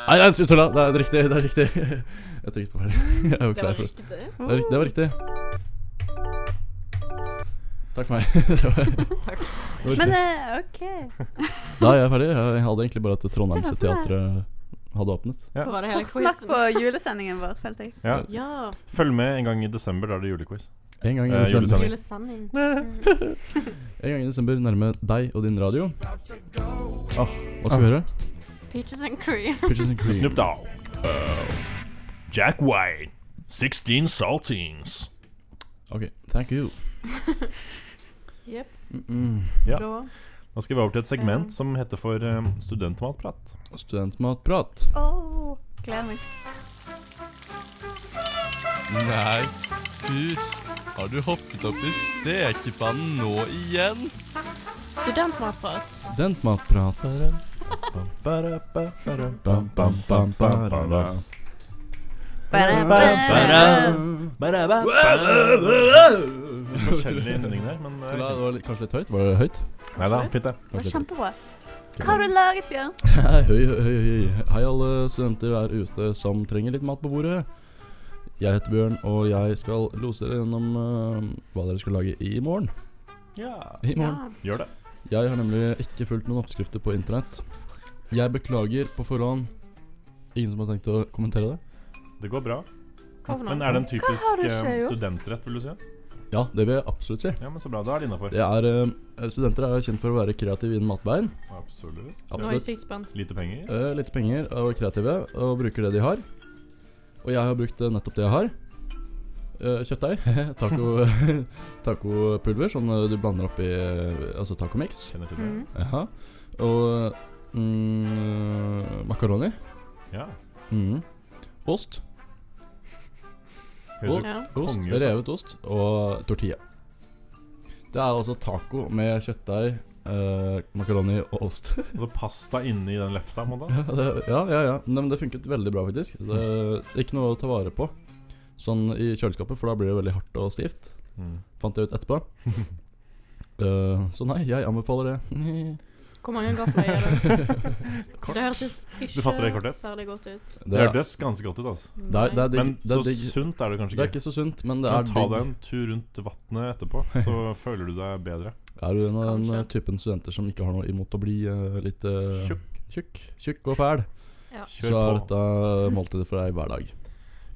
Speaker 4: Nei, nei, tulla. Det er riktig. Det er riktig. Jeg trykket på feil. Jeg var
Speaker 6: Det
Speaker 4: klar
Speaker 6: var
Speaker 4: for det.
Speaker 6: riktig.
Speaker 4: Det var riktig. Det var riktig. Takk for meg. Det var,
Speaker 6: Takk.
Speaker 4: det var
Speaker 3: Men
Speaker 4: riktig.
Speaker 3: eh, OK.
Speaker 4: Da er jeg ferdig. Jeg hadde egentlig bare at
Speaker 3: Det
Speaker 4: Trondheims
Speaker 3: var sånn
Speaker 4: teatret hadde åpnet.
Speaker 5: Ja.
Speaker 6: Var det hele
Speaker 3: Forsmak
Speaker 6: quizen?
Speaker 3: på julesendingen vår, følte jeg.
Speaker 5: Ja.
Speaker 6: Ja.
Speaker 5: Følg med en gang i desember, da er det julequiz.
Speaker 4: En gang i
Speaker 5: Eh,
Speaker 4: desember,
Speaker 5: Sending.
Speaker 6: Julesending.
Speaker 4: en gang i desember nærme deg og din radio. Åh, hva
Speaker 7: Ah.
Speaker 4: skal vi høre?
Speaker 6: Peaches and cream.
Speaker 4: Pitches and Cream.
Speaker 5: Snoop Dogg. Eh, Jack White. 16 saltings.
Speaker 4: Ok, thank you.
Speaker 6: Jepp.
Speaker 4: Mm -mm.
Speaker 5: Ja.
Speaker 6: Blå.
Speaker 5: Nå skal vi over til et segment som heter for eh, studentmatprat.
Speaker 4: Studentmatprat.
Speaker 3: Åh, gleder meg.
Speaker 7: Nei, pus. Har du hoppet opp i stekepannen nå igjen?
Speaker 6: Studentmatprat.
Speaker 4: Studentmatprat.
Speaker 5: Bam, ba, da, ba, ba, da, bam, bam, bam, ba, da. Forskjellig innledning der, men
Speaker 4: Det
Speaker 5: eh,
Speaker 4: var litt- kanskje litt høyt? Var det høyt?
Speaker 5: Neida, fint det.
Speaker 3: Det var
Speaker 4: Kanskje litt-
Speaker 3: kjempebra. Hva har du laget, Bjørn?
Speaker 4: Hei, høy, høy, høy. Hei, alle studenter der ute som trenger litt mat på bordet. Jeg heter Bjørn, og jeg skal lose dere gjennom eh, hva dere skal lage i morgen.
Speaker 5: Ja,
Speaker 4: I morgen.
Speaker 6: Ja.
Speaker 5: gjør det.
Speaker 4: Jeg har nemlig ikke fulgt noen oppskrifter på internett. Jeg beklager på forhånd. Ingen som har tenkt å kommentere det?
Speaker 5: Det går bra.
Speaker 6: Hva for
Speaker 5: Men
Speaker 6: noe?
Speaker 5: er det en
Speaker 3: har
Speaker 5: typisk
Speaker 3: du
Speaker 5: eh,
Speaker 3: ikke gjort?
Speaker 5: studentrett, vil du si?
Speaker 4: Ja, det vil jeg absolutt si.
Speaker 5: Ja, men så bra. Da er det innafor.
Speaker 4: Det er, eh, studenter er jo kjent for å være kreative innen matveien.
Speaker 5: Absolutt.
Speaker 6: Nå er jeg
Speaker 4: Absolutt.
Speaker 6: sykt spent.
Speaker 5: Lite penger.
Speaker 4: Eh, litt penger og kreative, og bruker det de har. Og jeg har brukt eh, nettopp det jeg har. Eh, kjøttdeig. Taco, tacopulver, sånn eh, du blander oppi eh, altså tacomix.
Speaker 5: Kjenner til det.
Speaker 6: Mm.
Speaker 4: Jaha. Og mm, makaroni.
Speaker 5: Ja.
Speaker 4: Mm. Ost.
Speaker 5: Høres ut.
Speaker 6: Ja.
Speaker 4: Ost,
Speaker 5: Konge,
Speaker 4: revet ost og tortilla. Det er altså taco med kjøttdeig, eh, makaroni og ost.
Speaker 5: Og så Altså, pasta inni den lefsa. på en måte.
Speaker 4: ja, det, ja, ja, ja. Nei, men det funket veldig bra, faktisk. Det, ikke noe å ta vare på sånn i kjøleskapet, for da blir det veldig hardt og stivt.
Speaker 5: Mm.
Speaker 4: Fant jeg ut etterpå. Eh, så nei, jeg anbefaler det.
Speaker 6: Hvor mange gafler er det? Det hørtes
Speaker 5: Du fatter det i
Speaker 6: ikke
Speaker 5: korthet?
Speaker 6: særlig godt ut.
Speaker 5: Det hørtes ganske godt ut, altså.
Speaker 4: det er, det er digg.
Speaker 5: Men
Speaker 4: det,
Speaker 5: så
Speaker 4: er digg.
Speaker 5: sunt er det
Speaker 4: det
Speaker 5: kanskje ikke.
Speaker 4: er ikke så sunt, men
Speaker 5: Du
Speaker 4: det
Speaker 5: kan
Speaker 4: er
Speaker 5: ta deg
Speaker 4: digg.
Speaker 5: en tur rundt vannet etterpå, så føler du deg bedre.
Speaker 4: Er du en av den
Speaker 6: Kanskje.
Speaker 4: eh, typen studenter som ikke har noe imot å bli eh, litt eh,
Speaker 5: Tjukk.
Speaker 4: tjukk, tjukk og fæl, så
Speaker 5: Kjør
Speaker 4: er
Speaker 5: på.
Speaker 4: dette måltidet for deg hver dag.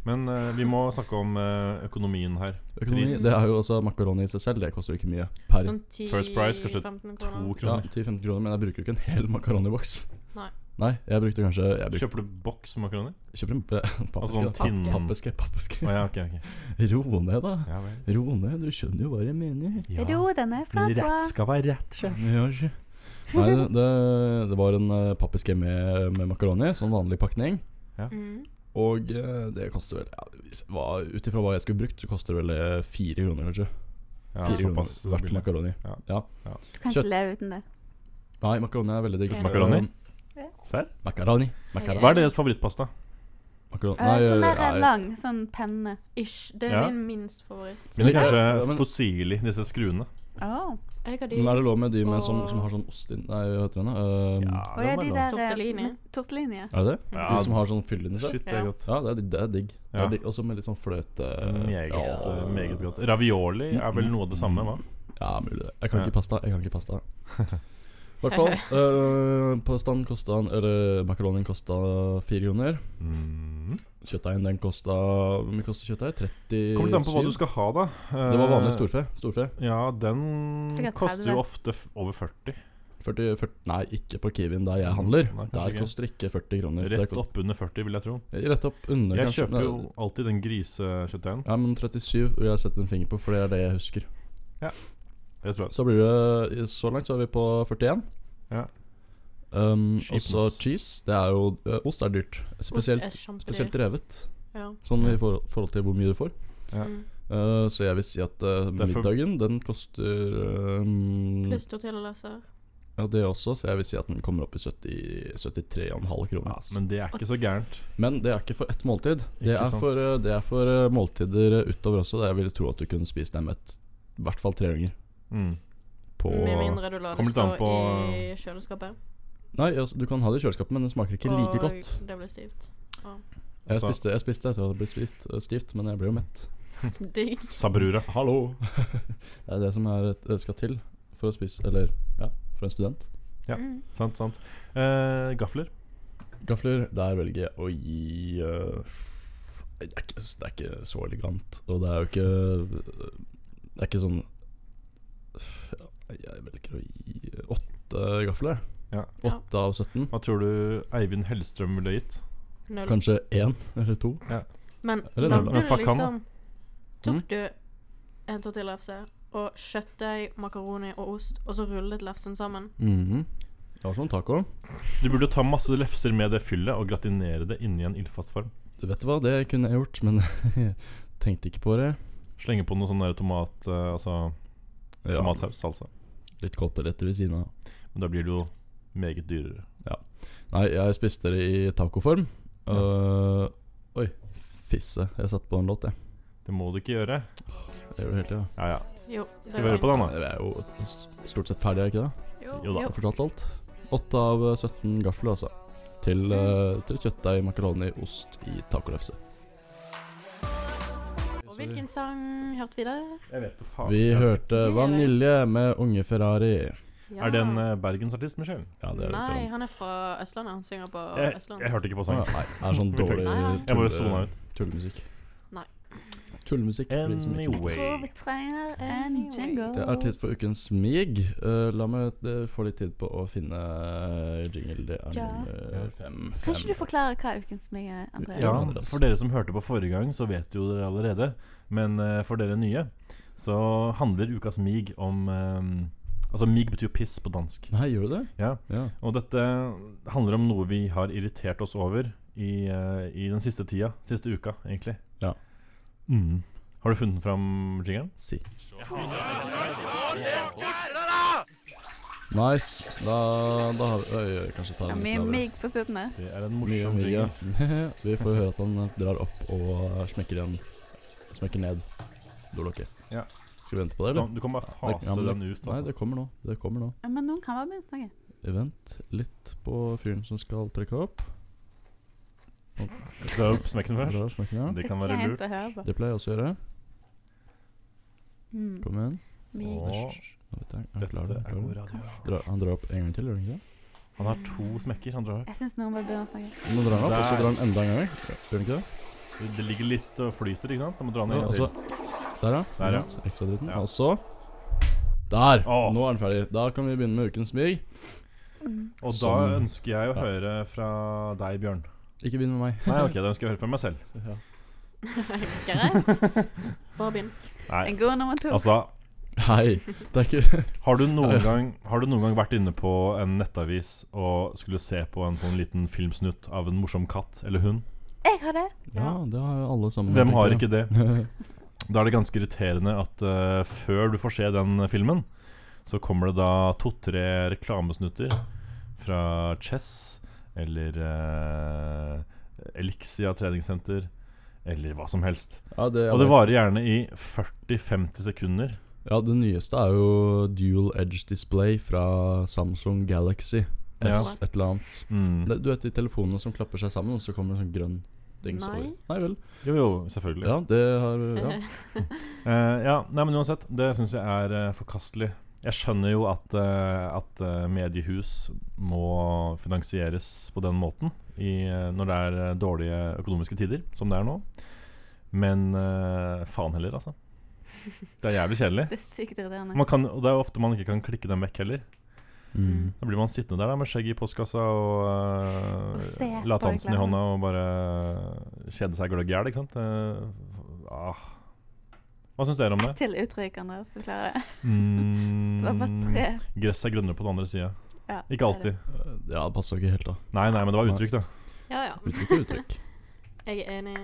Speaker 5: Men eh, vi må snakke om eh, økonomien her.
Speaker 4: Økonomi,
Speaker 5: Pris.
Speaker 4: det er jo altså makaroni i seg selv, det koster ikke mye per
Speaker 6: Sånn 10-15
Speaker 5: First price, kanskje To
Speaker 6: kroner.
Speaker 4: ja,
Speaker 5: kroner.
Speaker 4: 10-15 kroner, men jeg bruker jo ikke en hel makaroniboks.
Speaker 6: Nei.
Speaker 4: Nei, jeg brukte kanskje Jeg brukte,
Speaker 5: Kjøper du boks makaroni?
Speaker 4: kjøper en p-
Speaker 5: Altså
Speaker 4: pappeske.
Speaker 5: sånn
Speaker 4: da.
Speaker 5: tinn... Å
Speaker 4: Pappeske, pappeske.
Speaker 5: ja, ok, ok.
Speaker 4: Ro ned, da.
Speaker 5: Ja vel.
Speaker 4: Ro ned, du skjønner jo hva jeg mener.
Speaker 5: Ja.
Speaker 3: Jo, den er
Speaker 5: Men
Speaker 3: flat.
Speaker 5: rett skal være rett, sjef.
Speaker 4: Ja, sjef. Nei, det, det, det var en eh, pappeske med, med makaroni, sånn vanlig pakning.
Speaker 6: Mm.
Speaker 4: Og eh, det koster vel ja, hvis- hva- Ut ifra hva jeg skulle brukt, så koster det vel eh, fire kroner, kanskje.
Speaker 5: Ja,
Speaker 4: Fire kroner
Speaker 5: såpass
Speaker 4: hvert
Speaker 5: billig.
Speaker 4: makaroni.
Speaker 3: Du kan ikke leve uten det.
Speaker 4: Nei, makaroni er veldig digg.
Speaker 6: Ja.
Speaker 5: Makaroni?
Speaker 4: Eh,
Speaker 5: Serr?
Speaker 4: Makaroni. Makaroni.
Speaker 5: Hva er deres favorittpasta?
Speaker 4: Makaroni.
Speaker 3: Eh, Sånn
Speaker 4: Nei,
Speaker 3: der eh,
Speaker 4: eh,
Speaker 3: lang, sånn penne.
Speaker 6: Ish. Det er
Speaker 5: Ja.
Speaker 6: min minst favoritt.
Speaker 5: Mine er
Speaker 4: Ja,
Speaker 5: kanskje
Speaker 4: men-
Speaker 5: fossili, disse skruene.
Speaker 3: Åh.
Speaker 6: Jeg liker de.
Speaker 4: men er det lov med de med som,
Speaker 6: Og-
Speaker 4: som har sånn ost inn Nei, hva heter den? Uh,
Speaker 3: Og ja, de
Speaker 5: det
Speaker 3: der eh,
Speaker 6: Tortellini.
Speaker 3: med Tortellini. ja.
Speaker 4: Er det det?
Speaker 5: Ja.
Speaker 4: De som har sånn fyll inni seg?
Speaker 5: Shit, det er
Speaker 6: Ja.
Speaker 5: godt.
Speaker 4: Ja, det er, det er digg. Det
Speaker 5: Ja.
Speaker 4: er digg. Også med litt sånn fløte
Speaker 5: Meget,
Speaker 4: ja.
Speaker 5: eh, meget godt. Ravioli er vel noe av det samme, hva?
Speaker 4: Ja, mulig det. Jeg kan
Speaker 5: Ja.
Speaker 4: ikke pasta. Jeg kan ikke pasta. I hvert fall. Uh, pastaen kosta Eller makaronien kosta fire kroner.
Speaker 5: Mm.
Speaker 4: Kjøttdeigen den kosta Hvor mye koster kjøttdeig? 37?
Speaker 5: Kommer litt an på hva du skal ha, da.
Speaker 4: Det var vanlig
Speaker 5: Eh,
Speaker 4: storfe. Storfe.
Speaker 5: Ja, den
Speaker 3: Sikkert 30.
Speaker 5: koster jo ofte f over 40.
Speaker 4: 40, 40, nei, ikke på Kiwien der jeg handler.
Speaker 5: Mm, Nei, kanskje
Speaker 4: der
Speaker 5: ikke.
Speaker 4: koster ikke 40 kroner. Der
Speaker 5: Rett
Speaker 4: kost-
Speaker 5: oppunder 40, vil jeg tro.
Speaker 4: Rett opp under,
Speaker 5: Jeg
Speaker 4: kanskje.
Speaker 5: kjøper jo
Speaker 4: Nei,
Speaker 5: alltid den grisekjøttdeigen.
Speaker 4: Ja, men 37 vil jeg sette en finger på, for det er det jeg husker.
Speaker 5: Rett og slett.
Speaker 4: Så blir det Så langt så er vi på 41.
Speaker 5: Ja.
Speaker 4: Um, og
Speaker 5: Cheapens.
Speaker 4: så cheese. Det er jo eh, Ost er dyrt. Spesielt, spesielt revet.
Speaker 6: Ja.
Speaker 4: Sånn i for, forhold til hvor mye du får.
Speaker 5: Ja.
Speaker 6: Mm.
Speaker 4: Eh, så jeg vil si at
Speaker 5: Det
Speaker 4: eh,
Speaker 5: er for-
Speaker 4: middagen, den koster um,
Speaker 6: Pluss tortilladasser.
Speaker 4: Ja, det også, så jeg vil si at den kommer opp i 70 73,5 kroner. ass. men,
Speaker 5: Men det er ikke så gærent.
Speaker 4: det er ikke for ett måltid. Det
Speaker 5: Ikke
Speaker 4: er
Speaker 5: sant.
Speaker 4: for, eh, det er for eh, måltider utover også. Jeg ville tro at du kunne spist dem et, i hvert fall tre ganger.
Speaker 5: Mm.
Speaker 4: På
Speaker 6: Med mindre du lar det
Speaker 5: Kommer litt
Speaker 6: stå
Speaker 5: an på-
Speaker 6: i kjøleskapet.
Speaker 4: Nei, altså, du kan ha det i kjøleskapet, men det smaker ikke like godt.
Speaker 6: det blir stivt.
Speaker 4: Jeg
Speaker 5: Så-
Speaker 4: spiste, jeg spiste etter at det ble spist eh, stivt, men jeg ble jo mett.
Speaker 6: Digg.
Speaker 5: Sabrura.
Speaker 4: Hallo! det er det som er, et- skal til for å spise Eller, ja, for en student.
Speaker 5: Ja.
Speaker 6: Mm.
Speaker 5: Sant, sant. Eh, gafler.
Speaker 4: Gafler, der velger jeg å gi eh, det, er ikke, det er ikke så elegant, og det er jo ikke Det er ikke sånn ja, Jeg velger å gi åtte gafler.
Speaker 5: Ja.
Speaker 4: Åtte av 17.
Speaker 5: Hva tror du Eivind Hellstrøm ville gitt?
Speaker 6: Null.
Speaker 4: Kanskje én eller to.
Speaker 6: Men
Speaker 4: Eller
Speaker 6: lagde
Speaker 4: null.
Speaker 6: du
Speaker 5: Men fuck han, da.
Speaker 6: liksom
Speaker 4: Mm.
Speaker 6: Tok du en tortillafse og kjøttdeig, makaroni og ost, og så rullet lefsen sammen?
Speaker 4: Det var sånn taco.
Speaker 5: Du burde ta masse lefser med det fyllet og gratinere det inni en ildfast form.
Speaker 4: Du vet hva, det kunne jeg gjort, men jeg tenkte ikke på det.
Speaker 5: Slenge på noe sånn der tomat, eh, altså
Speaker 4: Ja,
Speaker 5: tomatsaus, salsa.
Speaker 4: litt koteletter ved siden av.
Speaker 5: Men da blir det jo meget dyrere.
Speaker 4: Nei, jeg spiste det i tacoform.
Speaker 5: Ja.
Speaker 4: Øh, oi. fisse. Jeg satte på en låt, jeg.
Speaker 5: Det må du ikke gjøre.
Speaker 4: Det gjør du hele tida.
Speaker 5: Ja, ja.
Speaker 6: Jo.
Speaker 5: Skal vi høre på den, da?
Speaker 4: Jeg er jo s- stort sett ferdig, er jeg ikke det?
Speaker 5: Jo da.
Speaker 4: Jeg har fortalt alt. 8 av eh, 17 gafler, altså. Til,
Speaker 5: Mm.
Speaker 4: eh, til kjøttdeig, makaroni, ost i tacolefse.
Speaker 6: Og hvilken sang hørte vi der?
Speaker 5: Jeg vet det faen.
Speaker 4: Vi
Speaker 5: Jeg vet ikke.
Speaker 4: hørte Vanilje med Unge Ferrari.
Speaker 6: Ja.
Speaker 5: Er det en eh, bergensartist, Michelle?
Speaker 4: Ja, det er
Speaker 6: Nei, han er fra Østlandet. Han synger på
Speaker 5: Jeg,
Speaker 6: Østlandet.
Speaker 5: jeg hørte ikke på
Speaker 4: Å, ja,
Speaker 5: sangen.
Speaker 4: Nei, det er sånn dårlig
Speaker 6: Nei, nei.
Speaker 5: Jeg bare
Speaker 4: tulle-
Speaker 5: sona ut.
Speaker 4: tullemusikk.
Speaker 6: Nei.
Speaker 4: Tullemusikk. for de som ikke-
Speaker 3: Jeg tror
Speaker 5: Anyway.
Speaker 3: vi trenger en jingle.
Speaker 4: Det er tid for ukens mig. Eh, la meg eh, få litt tid på å finne eh, jingle. Det er
Speaker 3: Ja.
Speaker 4: nummer fem.
Speaker 3: Kan ikke
Speaker 4: fem.
Speaker 3: du forklare hva ukens meg er, Andrea?
Speaker 5: Ja,
Speaker 4: Andreas.
Speaker 5: for dere som hørte på forrige gang, så vet jo dere allerede. Men eh, for dere nye, så handler ukas mig om eh, Altså, mig betyr jo piss på dansk.
Speaker 4: Nei, gjør du det?
Speaker 5: Ja,
Speaker 4: Ja.
Speaker 5: Og dette handler om noe vi har irritert oss over i, eh, i den siste tida. Siste uka, egentlig.
Speaker 4: Ja.
Speaker 5: Mm. Har du funnet fram jingeren?
Speaker 4: Si. Nice. Da, da har vi Oi, oi, kanskje ta
Speaker 3: Ja,
Speaker 4: en
Speaker 3: med
Speaker 4: litt lavere.
Speaker 3: meg på slutten her.
Speaker 5: Det er en
Speaker 4: Mye
Speaker 5: morsom
Speaker 4: mig, ja.
Speaker 5: jingle.
Speaker 4: Vi får høre at han eh, drar opp og smekker igjen. Smekker ned dolokket.
Speaker 5: Ja.
Speaker 4: Skal vi vente på det, eller?
Speaker 5: Du kan bare fase
Speaker 4: Ja, men det-
Speaker 5: den ut.
Speaker 4: Nei,
Speaker 5: Altså.
Speaker 4: det kommer nå. Det kommer nå.
Speaker 3: Ja, Men noen kan bare begynne å snakke.
Speaker 4: Vent litt på fyren som skal trykke opp.
Speaker 5: Dra opp smekken først.
Speaker 4: Drar smekken, ja.
Speaker 5: Det kan være
Speaker 3: er
Speaker 5: lurt.
Speaker 3: fint å høre på.
Speaker 4: Det pleier jeg også å gjøre.
Speaker 3: Mm.
Speaker 4: Kom igjen.
Speaker 3: Mig.
Speaker 5: Og
Speaker 4: Nå vet jeg, er du klar,
Speaker 5: dette
Speaker 4: er
Speaker 5: er
Speaker 4: du klar?
Speaker 5: god radio.
Speaker 4: Dra, han drar opp en gang til, gjør han ikke det?
Speaker 5: Han har to smekker. Han drar.
Speaker 3: Jeg syns noen bare begynner å snakke.
Speaker 4: Nå drar han opp, og så
Speaker 5: Der.
Speaker 4: drar han enda en gang. Gjør han ikke det?
Speaker 5: Det ligger litt og flyter, ikke sant? Han må dra
Speaker 4: Ja,
Speaker 5: ned.
Speaker 4: og
Speaker 5: Ja,
Speaker 4: så Der, ja.
Speaker 5: Der, ja.
Speaker 4: Ikke sant? Ekstra dritten.
Speaker 5: Ja.
Speaker 4: Og så Der!
Speaker 5: Åh.
Speaker 4: Nå er den ferdig. Da kan vi begynne med ukens mig.
Speaker 5: og da
Speaker 4: Sånn.
Speaker 5: ønsker jeg å
Speaker 4: Ja.
Speaker 5: høre fra deg, Bjørn.
Speaker 4: Ikke begynn med meg.
Speaker 5: Nei, ok, da ønsker jeg å høre fra meg selv.
Speaker 6: Greit. Bare begynn.
Speaker 5: Nei,
Speaker 3: En god nummer to.
Speaker 5: altså
Speaker 4: Hei. Det er ikke
Speaker 5: Har du, noen gang, har du noen gang vært inne på en nettavis og skulle se på en sånn liten filmsnutt av en morsom katt eller hund?
Speaker 3: Jeg har det!
Speaker 4: Ja, det har jo alle sammen.
Speaker 5: Hvem har ikke det? Da er det ganske irriterende at eh, før du får se den filmen, så kommer det da to-tre reklamesnutter fra Chess eller eh, Elixia treningssenter eller hva som helst.
Speaker 4: Ja, det,
Speaker 5: Og det varer gjerne i 40-50 sekunder.
Speaker 4: ja, det nyeste er jo dual edge display fra Samsung Galaxy.
Speaker 5: Ja.
Speaker 4: S, et eller annet.
Speaker 5: Mm.
Speaker 4: Det, du vet de telefonene som klapper seg sammen, og så kommer det en sånn grønn dings
Speaker 6: Nei.
Speaker 4: over? Nei vel.
Speaker 5: Jo, jo, selvfølgelig.
Speaker 4: Ja, det har ja.
Speaker 5: Eh, ja, nei, men uansett, det syns jeg er eh, forkastelig. Jeg skjønner jo at, eh, at eh, mediehus må finansieres på den måten i, eh, når det er eh, dårlige økonomiske tider, som det er nå. Men eh, faen heller, altså. Det er jævlig kjedelig.
Speaker 3: Det er sykt irriterende.
Speaker 5: Man kan, og det er jo ofte man ikke kan klikke dem vekk heller.
Speaker 4: Mm.
Speaker 5: Da blir man sittende der da, med skjegget i postkassa og, eh,
Speaker 3: Og se på
Speaker 5: latansen i
Speaker 3: reklamen.
Speaker 5: hånda og bare eh, kjede seg gløgg i hjel, ikke sant. Eh, ah. Hva syns dere om det?
Speaker 3: Ett til uttrykk, Andreas. Du klarer det. Det var bare
Speaker 5: Mm,
Speaker 3: tre.
Speaker 5: gress er grønnere på den andre sida.
Speaker 3: Ja,
Speaker 5: Ikke alltid.
Speaker 4: Ja, det passer jo ikke helt, da.
Speaker 5: Nei, nei, men det var uttrykk, da.
Speaker 6: Ja, ja.
Speaker 4: Uttrykk og uttrykk.
Speaker 6: Jeg er enig.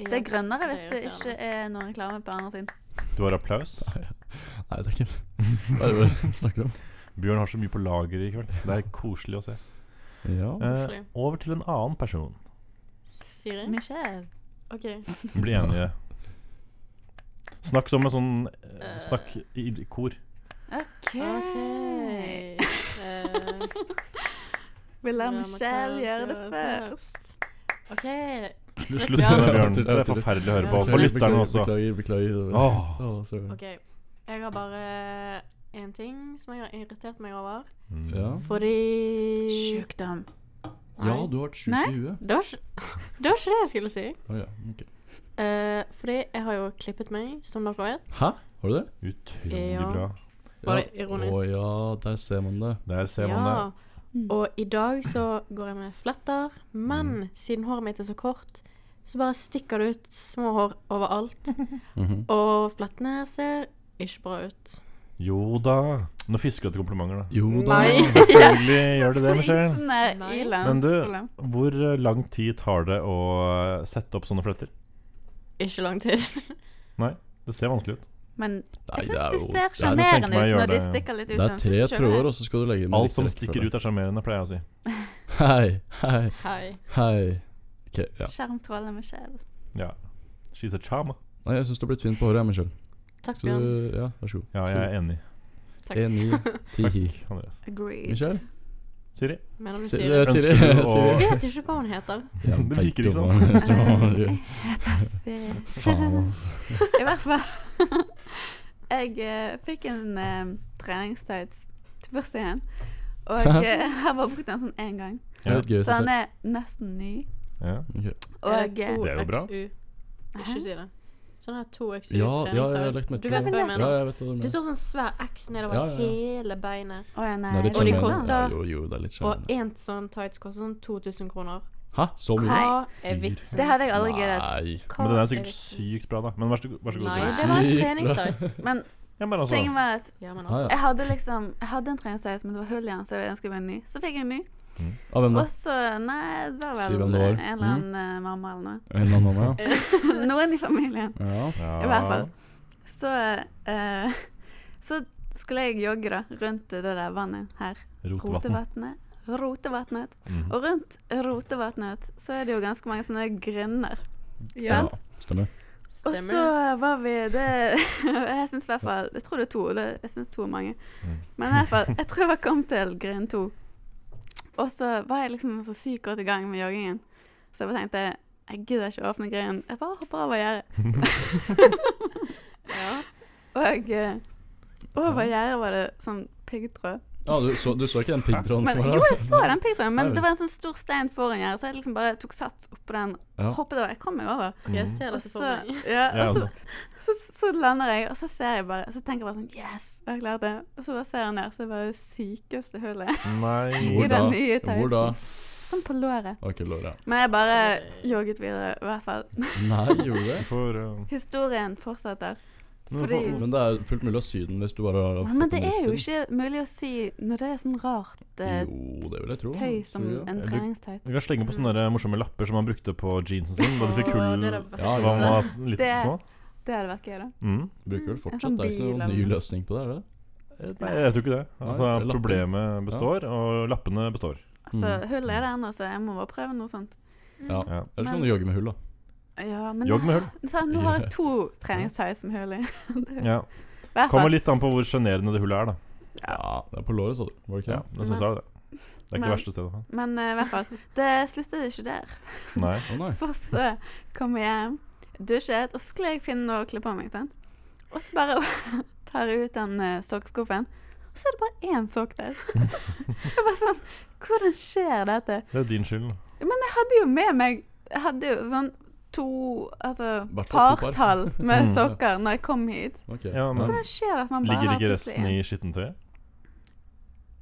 Speaker 6: i
Speaker 3: Det er
Speaker 6: at
Speaker 3: grønnere hvis det ikke
Speaker 6: irriterende.
Speaker 3: er noen reklame på den andre siden.
Speaker 5: Du har applaus.
Speaker 4: Nei, det er ikke Hva er det du snakker om?
Speaker 5: Bjørn har så mye på lager i kveld. Det er koselig å se.
Speaker 4: Ja.
Speaker 5: Eh, over til en annen person.
Speaker 6: Siri?
Speaker 3: Michelle.
Speaker 6: OK.
Speaker 5: Bli enige. Snakk som en sånn eh, Snakk i i kor.
Speaker 3: OK.
Speaker 6: OK. Eh,
Speaker 3: Vi lar
Speaker 6: Drama
Speaker 3: Michelle
Speaker 6: Class
Speaker 3: gjøre det
Speaker 6: gjør
Speaker 3: først.
Speaker 6: OK.
Speaker 5: Slutt med det, Bjørn. Det er forferdelig å høre på. For lytterne også.
Speaker 4: Beklager, beklager.
Speaker 5: Åh.
Speaker 4: Åh, sorry.
Speaker 6: OK. Jeg har bare én ting som jeg har irritert meg over.
Speaker 5: Mm.
Speaker 4: Ja.
Speaker 6: Fordi
Speaker 3: Sjukdom.
Speaker 4: ja, du har vært sjuk
Speaker 3: Nei.
Speaker 4: i huet.
Speaker 6: Det var ikke det, var ikke det jeg skulle si.
Speaker 4: Å ja, ok.
Speaker 6: Eh, fordi jeg har jo klippet meg, som dere vet.
Speaker 4: Hæ? Har du det?
Speaker 5: Utrolig
Speaker 6: Ja.
Speaker 5: bra.
Speaker 6: Var det ironisk?
Speaker 4: Å ja, der ser man det.
Speaker 5: Der ser man det.
Speaker 6: Ja.
Speaker 3: Mm.
Speaker 6: Og i dag så går jeg med fletter, men
Speaker 5: Mm.
Speaker 6: siden håret mitt er så kort, så bare stikker det ut små hår overalt.
Speaker 4: Mhm.
Speaker 6: Og flettene ser ikke bra ut.
Speaker 5: Jo da. Nå fisker du etter komplimenter, da.
Speaker 4: Jo da.
Speaker 6: Nei.
Speaker 5: Selvfølgelig gjør du det, Michelle.
Speaker 3: Singsene i
Speaker 6: Nei.
Speaker 5: Men du-
Speaker 3: landsskolen.
Speaker 5: Hvor eh, lang tid tar det å eh, sette opp sånne fletter?
Speaker 6: Ikke lang tid.
Speaker 5: Det ser vanskelig ut.
Speaker 3: Men jeg
Speaker 4: Nei, det
Speaker 3: syns
Speaker 4: er
Speaker 3: det
Speaker 4: jo
Speaker 3: ser
Speaker 5: er- jeg tenker
Speaker 3: sjarmerende
Speaker 5: meg å
Speaker 3: ut
Speaker 5: gjøre
Speaker 3: når de
Speaker 5: det.
Speaker 3: stikker litt ut.
Speaker 4: Det er
Speaker 3: sånn, så
Speaker 4: tre altså.
Speaker 3: skjønner jeg.
Speaker 4: tråder, og så skal du legge dem i
Speaker 5: Alt
Speaker 4: riktig
Speaker 5: som
Speaker 4: rekkefølge.
Speaker 5: stikker ut, er sjarmerende, pleier jeg å si.
Speaker 4: Hei, hei,
Speaker 6: Hei.
Speaker 4: hei. Ok, ja.
Speaker 3: Skjermtrålene Michelle.
Speaker 5: Ja. She's a charmer.
Speaker 4: Nei, jeg syns du har blitt fin på håret, jeg, Michelle.
Speaker 6: Takk,
Speaker 4: Så
Speaker 6: Bjørn.
Speaker 4: ja, vær så god.
Speaker 5: Ja, jeg er enig.
Speaker 6: Takk.
Speaker 4: En ny tihi.
Speaker 5: Takk, Andreas.
Speaker 3: Agreed.
Speaker 4: Michelle?
Speaker 5: Siri?
Speaker 6: Mener du
Speaker 4: Si-
Speaker 6: Siri?
Speaker 4: eh, Siri?
Speaker 5: Ønsker du å-
Speaker 6: Jeg
Speaker 4: Siri.
Speaker 6: vet ikke hva hun heter.
Speaker 4: Ja,
Speaker 5: Det virker
Speaker 4: tenkte
Speaker 5: ikke
Speaker 4: på det. Jeg tror-
Speaker 3: Jeg heter Siri.
Speaker 4: Faen, altså.
Speaker 3: I hvert fall. jeg eh, fikk en eh, treningstights til bursdagen. Og eh, jeg har bare brukt den sånn én gang.
Speaker 4: Det er litt gøy.
Speaker 3: Så
Speaker 4: å
Speaker 3: den
Speaker 4: se.
Speaker 3: er nesten ny.
Speaker 5: Ja.
Speaker 4: Ok.
Speaker 3: Og eh,
Speaker 5: Det er jo bra.
Speaker 6: Ikke si det. Sånn her 2XU
Speaker 4: Ja, ja, jeg har lagt
Speaker 6: treningsdag.
Speaker 4: merke
Speaker 6: Du
Speaker 4: til
Speaker 6: vet
Speaker 4: det.
Speaker 6: hva jeg
Speaker 4: Ja,
Speaker 6: mener?
Speaker 4: jeg vet hva du
Speaker 6: Det
Speaker 4: mener.
Speaker 6: står sånn svær X nedover
Speaker 4: Ja, ja, ja.
Speaker 6: hele beinet.
Speaker 3: Å ja, nei.
Speaker 4: Det er litt
Speaker 6: Og
Speaker 4: sånn
Speaker 6: de
Speaker 4: sjarmerende.
Speaker 6: koster-
Speaker 4: Jo, jo, det er litt
Speaker 6: Og
Speaker 4: sjarmerende.
Speaker 6: én sånn tights koster sånn 2000 kroner.
Speaker 4: Hæ? Så mye?
Speaker 6: Hva er vitsen?
Speaker 3: Det hadde jeg aldri giddet.
Speaker 4: Nei.
Speaker 6: Hva
Speaker 5: Men den er sikkert
Speaker 6: vitsen?
Speaker 5: sykt bra, da. Men vær så god. Vær så god
Speaker 6: Nei,
Speaker 5: Siri.
Speaker 6: det var en
Speaker 4: Sykt bra.
Speaker 6: treningstights.
Speaker 3: Men
Speaker 5: Ja, men altså,
Speaker 3: tingen var at
Speaker 6: Ja, men
Speaker 4: Ah,
Speaker 6: altså.
Speaker 4: ja.
Speaker 3: jeg hadde liksom Jeg hadde en treningstights, men det var hull i den, så jeg ønsket meg en ny. Så fikk jeg en ny.
Speaker 4: Av hvem da?
Speaker 3: Og så Nei, det var
Speaker 4: Si
Speaker 3: vel
Speaker 4: hvem det
Speaker 3: eh,
Speaker 4: var.
Speaker 3: en eller annen eh, mamma eller noe.
Speaker 4: En eller annen mamma?
Speaker 3: Noen i familien.
Speaker 4: Ja.
Speaker 5: ja.
Speaker 3: I hvert fall. Så eh, Så skulle jeg jogge, da, rundt det der vannet her.
Speaker 5: Rotevatn.
Speaker 3: Rotevatnet. Rotevatnet.
Speaker 5: Mhm.
Speaker 3: Og rundt Rotevatnet så er det jo ganske mange sånne grunner.
Speaker 6: Ja,
Speaker 4: ja. Stemmer.
Speaker 3: Og så
Speaker 6: stemmer.
Speaker 3: var vi det Jeg syns i hvert fall Jeg tror det er to. Det, jeg syns to er mange.
Speaker 4: Mm.
Speaker 5: Mhm.
Speaker 3: Men i hvert fall, jeg tror jeg kom til grunn to. Og så var jeg liksom så sykt godt i gang med joggingen, så jeg bare tenkte jeg gidder ikke å åpne grinden. Jeg bare hopper over gjerdet.
Speaker 6: Ja.
Speaker 3: Og eh, over gjerdet var det sånn piggtråd.
Speaker 4: Ja, du så, du så ikke den piggtråden som
Speaker 3: Men,
Speaker 4: var
Speaker 3: jo,
Speaker 4: der?
Speaker 3: jeg så den piggtråden, men
Speaker 4: Nei,
Speaker 3: det var en sånn stor stein foran gjerdet, så jeg liksom bare tok sats oppå den,
Speaker 4: Ja.
Speaker 3: hoppet over. Jeg kom meg over.
Speaker 6: Jeg ser
Speaker 3: Og
Speaker 6: dette
Speaker 3: så,
Speaker 6: for meg.
Speaker 3: ja,
Speaker 5: Ja,
Speaker 3: og så,
Speaker 5: altså.
Speaker 3: så, så lander jeg, og så ser jeg bare Så tenker jeg bare sånn Yes, jeg har klart det. Og så bare ser jeg ned, så er det bare det sykeste hullet.
Speaker 5: Nei.
Speaker 3: I
Speaker 4: Hvor da?
Speaker 3: den nye
Speaker 4: Hvor da?
Speaker 3: tighten. Sånn på låret.
Speaker 4: Ok, Laura.
Speaker 3: Men jeg bare jogget videre, i hvert fall.
Speaker 4: Nei, gjorde du det?
Speaker 5: Du får uh,
Speaker 3: Historien fortsetter.
Speaker 5: nå
Speaker 3: Fordi-
Speaker 5: får-
Speaker 4: Men det er fullt mulig å sy den hvis du bare har
Speaker 3: Men
Speaker 4: fått
Speaker 3: det
Speaker 4: den
Speaker 3: er jo
Speaker 4: riktig.
Speaker 3: ikke mulig å si når det er sånn rart eh,
Speaker 4: Jo, det vil jeg tro.
Speaker 3: tøy som
Speaker 4: Tror jeg.
Speaker 3: en
Speaker 5: Du-
Speaker 3: treningstights.
Speaker 5: Du kan slenge på sånne der morsomme lapper som han brukte på jeansen sin da de fikk
Speaker 6: Mm. Åh,
Speaker 5: hull
Speaker 6: det
Speaker 5: da
Speaker 6: er det
Speaker 5: de
Speaker 6: beste.
Speaker 4: Ja,
Speaker 5: var s- litt
Speaker 3: Det-
Speaker 5: små.
Speaker 3: Det hadde vært gøy, da.
Speaker 5: Mm.
Speaker 4: Bruker vel
Speaker 3: En sånn
Speaker 4: fortsatt. Det er ikke
Speaker 3: bil
Speaker 4: noen
Speaker 3: eller
Speaker 4: ny
Speaker 3: noe.
Speaker 4: løsning på det, er Eh, det?
Speaker 5: Nei, jeg tror ikke det.
Speaker 4: Nei,
Speaker 5: Altså,
Speaker 4: det er lappen.
Speaker 5: problemet består, og lappene består.
Speaker 3: Altså,
Speaker 4: Mm.
Speaker 3: hullet er der ennå, så jeg må bare prøve noe sånt.
Speaker 4: Ja.
Speaker 5: Ja.
Speaker 3: Mm.
Speaker 4: Eller så kan du jogge med hull, da.
Speaker 3: Ja, men
Speaker 5: Jogg med hull.
Speaker 3: Så nå har jeg to treningstights med hull i.
Speaker 5: Ja.
Speaker 3: I hvert
Speaker 5: Kommer
Speaker 3: fall.
Speaker 5: litt an på hvor sjenerende det hullet er, da.
Speaker 4: Ja, det er på låret, sa du. Var det ikke
Speaker 5: Ja,
Speaker 4: det?
Speaker 5: jeg synes det er det. Det er ikke
Speaker 3: Men-
Speaker 5: det verste stedet.
Speaker 3: Men eh, i hvert fall. Det sluttet ikke der.
Speaker 5: Nei.
Speaker 4: Å nei.
Speaker 3: For så kom jeg hjem, dusjet, og så skulle jeg finne noe å kle på meg. sant? Og så bare tar jeg ut den uh, sokkeskuffen, og så er det bare én sokk der. jeg bare sånn Hvordan skjer dette?
Speaker 5: Det er din skyld. da.
Speaker 3: Men jeg hadde jo med meg Jeg hadde jo sånn to Altså
Speaker 4: Hvert fall to par.
Speaker 3: partall med
Speaker 5: Mm.
Speaker 3: sokker når jeg kom hit.
Speaker 4: Ok.
Speaker 5: Ja, men-
Speaker 4: Ja.
Speaker 3: Hvordan skjer det at man bare
Speaker 5: Ligger
Speaker 3: har
Speaker 5: ikke
Speaker 3: plutselig
Speaker 5: resten
Speaker 3: en?
Speaker 5: i skittentøyet?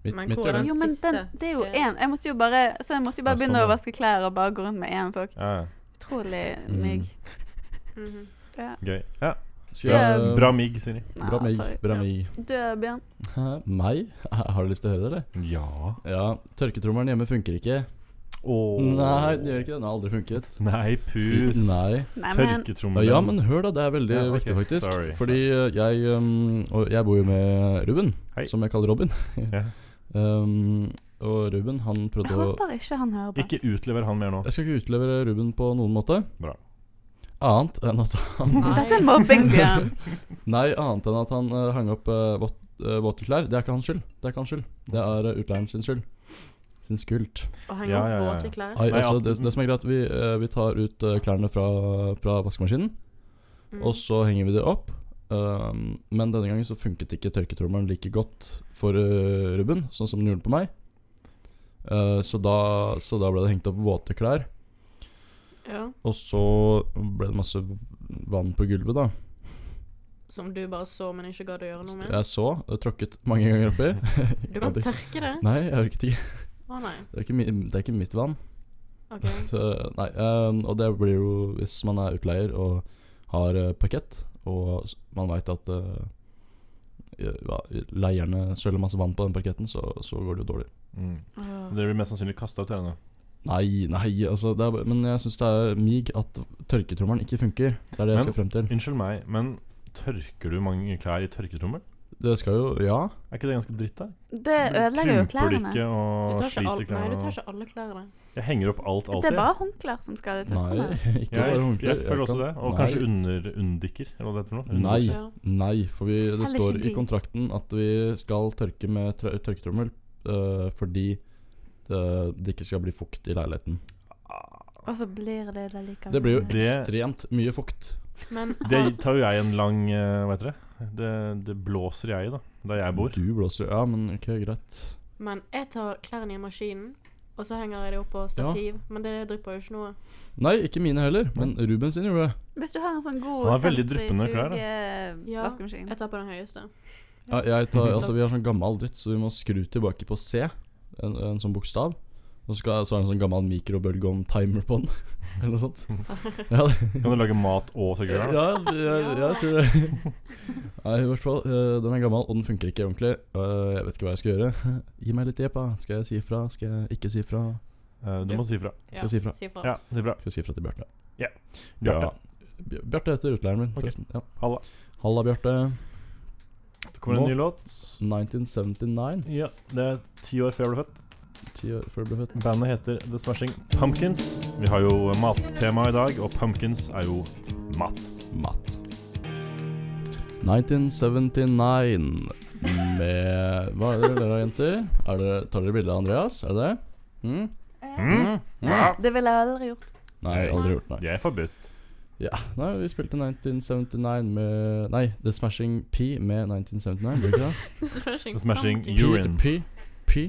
Speaker 4: Mitt,
Speaker 6: Men
Speaker 4: mitt
Speaker 6: hvor er
Speaker 4: gjør det.
Speaker 6: den?
Speaker 3: Jo, men den,
Speaker 6: siste.
Speaker 3: det er jo
Speaker 6: Ja.
Speaker 3: én. Jeg måtte jo bare, så jeg måtte jo bare
Speaker 4: Ja,
Speaker 3: begynne å
Speaker 4: sånn, ja.
Speaker 3: vaske klær og bare gå rundt med én sokk.
Speaker 5: Ja, ja.
Speaker 3: Utrolig
Speaker 4: Mm.
Speaker 3: mygg.
Speaker 6: Mhm.
Speaker 5: gøy. Ja.
Speaker 4: Skal
Speaker 3: Det
Speaker 4: jeg-
Speaker 5: Bra mig, Siri.
Speaker 3: Nei,
Speaker 4: Bra mig.
Speaker 3: sorry.
Speaker 4: Bra
Speaker 6: Ja.
Speaker 4: mig.
Speaker 3: Død, Bjørn.
Speaker 4: Hæ, Meg? Har du lyst til å høre det, eller?
Speaker 5: Ja.
Speaker 4: Ja. Tørketrommelen hjemme funker ikke.
Speaker 5: Åh.
Speaker 4: Nei, det gjør ikke det. Den har aldri funket.
Speaker 5: Nei, pus.
Speaker 4: Nei.
Speaker 3: Nei, men
Speaker 5: Tørketrommelen.
Speaker 4: Ja, men hør da, det er veldig
Speaker 5: Ja, ok.
Speaker 4: viktig faktisk.
Speaker 5: Sorry.
Speaker 4: Fordi eh, jeg, um, og jeg bor jo med Ruben,
Speaker 5: Hei.
Speaker 4: som jeg kaller Robin.
Speaker 5: Ja.
Speaker 4: Um, og Ruben, han
Speaker 3: jeg
Speaker 4: prøvde å
Speaker 3: håper ikke han hører på.
Speaker 5: Ikke utlever han mer nå.
Speaker 4: Jeg skal ikke utlevere Ruben på noen måte.
Speaker 5: Bra.
Speaker 4: Annet enn at han
Speaker 3: Dette er mobbing, Bjørn.
Speaker 4: Nei, annet enn at han eh, hang opp eh, våt, eh, våte klær. Det er ikke hans skyld. Det er ikke hans skyld. Det er uh, utleieren sin skyld. Sin skyld.
Speaker 6: Å henge
Speaker 5: Ja, ja,
Speaker 6: opp
Speaker 5: ja.
Speaker 6: våte klær.
Speaker 4: Ai,
Speaker 5: Nei,
Speaker 4: altså,
Speaker 5: at-
Speaker 4: det, det som er greit, vi, eh, vi tar ut eh, klærne fra, fra vaskemaskinen,
Speaker 6: Mm.
Speaker 4: og så henger vi det opp. Um, men denne gangen så funket ikke tørketrommelen like godt for uh, Ruben, sånn som den gjorde på meg. Eh, så, da, så da ble det hengt opp våte klær,
Speaker 6: Ja.
Speaker 4: og så ble det masse vann på gulvet, da.
Speaker 6: Som du bare så, men ikke gadd å gjøre noe med.
Speaker 4: Jeg så, og tråkket mange ganger oppi.
Speaker 6: Du kan tørke det.
Speaker 4: Nei, jeg orket ikke.
Speaker 6: Å nei.
Speaker 4: Det er ikke, mi, det er ikke mitt vann.
Speaker 6: OK.
Speaker 4: Så, nei, ehm, og det blir jo hvis man er utleier og har eh, parkett, og s- man veit at eh, ja, leierne søler masse vann på den parketten, så, så går det jo dårlig.
Speaker 5: Mm.
Speaker 6: Åh.
Speaker 5: Det blir mest sannsynlig kasta ut til henne.
Speaker 4: Nei, nei, altså det er, bare- Men jeg syns det er mig at tørketrommelen ikke funker. Det er det jeg
Speaker 5: Men-
Speaker 4: skal frem til.
Speaker 5: Unnskyld meg, men tørker du mange klær i tørketrommel?
Speaker 4: Det skal jo Ja.
Speaker 5: Er ikke det ganske dritt, da?
Speaker 3: Det ødelegger jo
Speaker 5: Krymper det
Speaker 3: klærne.
Speaker 5: ikke
Speaker 6: Du
Speaker 5: og
Speaker 6: tar ikke,
Speaker 5: sliter
Speaker 6: all, nei, du tar
Speaker 5: klærne?
Speaker 6: ikke alle klærne.
Speaker 5: og- Jeg henger opp alt
Speaker 3: Det er
Speaker 5: alltid.
Speaker 3: bare håndklær som skal ut.
Speaker 4: Nei, ikke
Speaker 5: Jeg,
Speaker 4: bare
Speaker 5: jeg,
Speaker 4: håndklær.
Speaker 5: føler også
Speaker 4: kan-
Speaker 5: det. Og
Speaker 4: Nei.
Speaker 5: kanskje under, unndikker, eller hva det heter for noe.
Speaker 4: Nei.
Speaker 6: Ja.
Speaker 4: Nei, for vi, det
Speaker 3: Selger
Speaker 4: står
Speaker 3: ikke de.
Speaker 4: i kontrakten at vi skal tørke med tør- tørketrommel eh, fordi det, det ikke skal bli fukt i leiligheten.
Speaker 3: Og så blir det det likevel.
Speaker 4: Det blir jo
Speaker 5: Det-
Speaker 4: ekstremt mye fukt.
Speaker 6: Men
Speaker 5: Det
Speaker 6: har,
Speaker 5: tar jo jeg en lang eh, Hva heter det? Det, det blåser jeg i, da. Der jeg bor.
Speaker 4: Du blåser Ja, men ok, greit.
Speaker 6: Men jeg tar klærne i maskinen, og så henger jeg det opp på stativ. Men det drypper jo ikke noe.
Speaker 4: Nei, ikke mine heller, men Ruben sin gjorde det.
Speaker 3: Hvis du har en sånn god
Speaker 5: Han har veldig dryppende klær, da.
Speaker 6: Ja.
Speaker 3: sentrifuge-vaskemaskin
Speaker 6: Jeg tar på den høyeste.
Speaker 4: Ja, jeg tar, altså, vi har sånn gammel dritt, så vi må skru tilbake på C, en, en sånn bokstav. Og så, skal, så er det en sånn gammel mikrobølgeovn-timer på den, eller noe sånt.
Speaker 6: Så,
Speaker 4: Ja, det,
Speaker 5: Kan du lage mat og sekretær?
Speaker 4: Ja, jeg, jeg tror det. Nei, i hvert fall. eh, Den er gammel, og den funker ikke ordentlig. Eh, Jeg vet ikke hva jeg skal gjøre. Gi meg litt hjelp, da. Skal jeg si ifra? Skal jeg ikke si ifra?
Speaker 5: Eh, Du må si fra.
Speaker 6: ja,
Speaker 4: Skal si fra.
Speaker 5: Ja, si fra.
Speaker 4: Skal jeg si ifra til Bjarte?
Speaker 5: Ja.
Speaker 4: Bjarte. Bj- Bjarte heter utleieren min,
Speaker 5: Ok.
Speaker 4: forresten. Ja.
Speaker 5: Halla.
Speaker 4: Halla, Bjarte.
Speaker 5: Det kommer en
Speaker 4: Nå.
Speaker 5: ny låt.
Speaker 4: 1979,
Speaker 5: Ja, det er ti år før jeg ble født.
Speaker 4: ti år før du ble født.
Speaker 5: Bandet heter The Smashing Pumpkins. Vi har jo mattema i dag, og pumpkins er jo mat.
Speaker 4: Mat. 1979 med Hva er det dere, jenter? Er det, tar dere bilde av Andreas? Er det det? Mm?
Speaker 5: Mm.
Speaker 3: Eh, Det ville jeg aldri gjort.
Speaker 4: Nei, aldri gjort, nei.
Speaker 5: De er forbudt.
Speaker 4: Ja, nei, vi spilte 1979 med Nei, The Smashing P med 1979. Blir det ikke det?
Speaker 6: Smashing,
Speaker 5: The Smashing
Speaker 6: Pumpkins.
Speaker 5: Urine.
Speaker 4: P, P,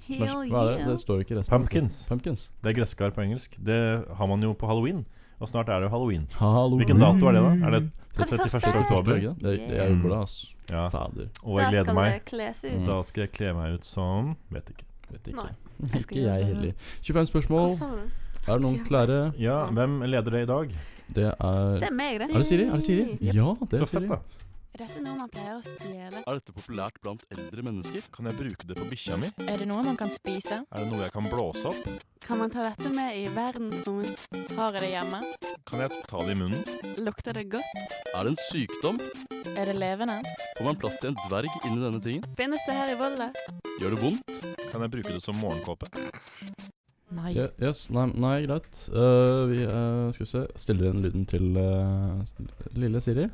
Speaker 4: P
Speaker 3: Hell
Speaker 4: Hva er det?
Speaker 3: yeah.
Speaker 4: Det står ikke i resten.
Speaker 5: Pumpkins.
Speaker 4: Pumpkins.
Speaker 5: Det er gresskar på engelsk. Det har man jo på halloween, og snart er det jo halloween.
Speaker 4: Hallo.
Speaker 5: Hvilken dato er det, da? Er det
Speaker 3: Først-
Speaker 5: 31.
Speaker 3: først-
Speaker 5: oktober?
Speaker 4: Det, det, det er jo bra, ass.
Speaker 5: Ja,
Speaker 4: Fader.
Speaker 5: og jeg gleder
Speaker 3: Da skal
Speaker 5: meg.
Speaker 3: det kles
Speaker 4: Mm.
Speaker 3: ut.
Speaker 5: Da skal jeg kle meg ut som Vet ikke.
Speaker 4: Vet
Speaker 6: Nei.
Speaker 4: ikke.
Speaker 3: Jeg skal
Speaker 4: Ikke
Speaker 3: gjøre
Speaker 4: jeg
Speaker 3: det.
Speaker 4: heller. 25
Speaker 6: Hva
Speaker 4: spørsmål.
Speaker 6: sa du?
Speaker 4: Er det noen klare?
Speaker 5: Ja, hvem leder det i dag?
Speaker 4: Det er
Speaker 3: Det er meg, det.
Speaker 4: Er det Siri? Er det Siri? Ja, det
Speaker 5: Så
Speaker 4: er
Speaker 5: fett,
Speaker 4: Siri.
Speaker 5: da.
Speaker 8: Er dette noe man pleier å stjele?
Speaker 7: Er dette populært blant eldre mennesker?
Speaker 5: Kan jeg bruke det på bikkja mi?
Speaker 8: Er det noe man kan spise?
Speaker 5: Er det noe jeg kan blåse opp?
Speaker 3: Kan man ta dette med i verdensrommet?
Speaker 8: Har jeg det hjemme?
Speaker 5: Kan jeg ta det i munnen?
Speaker 8: Lukter det godt?
Speaker 7: Er det en sykdom?
Speaker 8: Er det levende?
Speaker 7: Får man plass til en dverg inni denne tingen?
Speaker 3: Finnes det her i Volda?
Speaker 7: Gjør det vondt?
Speaker 5: Kan jeg bruke det som morgenkåpe?
Speaker 8: Nei.
Speaker 4: Ja, yes, nei, nei greit. Eh, vi eh, skal vi se Stiller inn lyden til eh, s- lille Siri.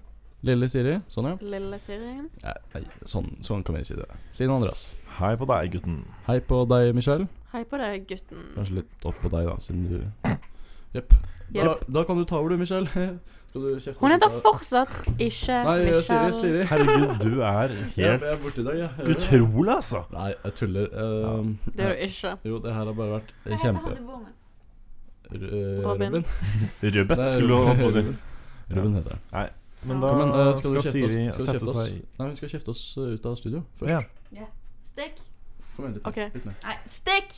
Speaker 4: Lille Siri. Sånn, ja.
Speaker 6: Lille Siri.
Speaker 4: Nei, nei, sånn, sånn kan vi si det. Si noe, Andreas.
Speaker 5: Hei på deg, gutten.
Speaker 4: Hei på deg, Michelle.
Speaker 6: Hei på deg, gutten.
Speaker 4: Kanskje litt opp på deg, da, siden du Jepp. Da,
Speaker 6: Jepp.
Speaker 4: da kan du ta over, du, Michelle. Skal du kjefte?
Speaker 6: Hun heter fortsatt ikke
Speaker 4: Nei, eh, Siri.
Speaker 6: Michelle.
Speaker 4: Siri.
Speaker 5: Herregud, du er
Speaker 4: Jeg,
Speaker 5: helt
Speaker 4: jeg er borte i dag, jeg. Hører du?
Speaker 5: utrolig, altså.
Speaker 4: Nei, jeg tuller. Eh,
Speaker 6: Det er du ikke.
Speaker 4: jo, det her har bare vært
Speaker 3: Hva heter
Speaker 4: kjempe...
Speaker 3: han du bor med?
Speaker 4: Ru- eh,
Speaker 6: Robin.
Speaker 4: Robin.
Speaker 5: Rubbet
Speaker 4: Nei,
Speaker 5: skulle du holdt på å si.
Speaker 4: Robin heter det.
Speaker 5: Men da
Speaker 4: Kom igjen, eh, skal
Speaker 5: skal,
Speaker 4: du kjefte oss-
Speaker 5: Siri
Speaker 4: skal du kjefte
Speaker 5: sette
Speaker 4: oss?
Speaker 5: seg
Speaker 4: Nei, hun skal kjefte oss eh, ut av studio først.
Speaker 5: Ja.
Speaker 3: Stikk!
Speaker 4: Kom igjen, litt,
Speaker 6: Ok.
Speaker 4: mer, litt mer.
Speaker 3: Nei, stikk!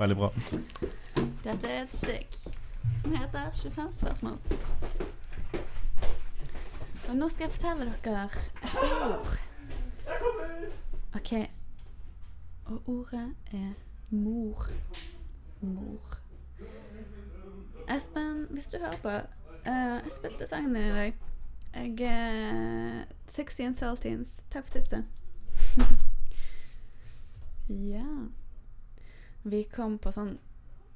Speaker 5: Veldig bra.
Speaker 3: Dette er et stikk som heter 25 spørsmål. Og nå skal jeg fortelle dere et ord. OK. Og ordet er mor. Mor. Espen, hvis du hører på eh, Jeg spilte sangen din i dag. Jeg eh, 16 Saltines. Takk for tipset. ja. Vi kom på sånn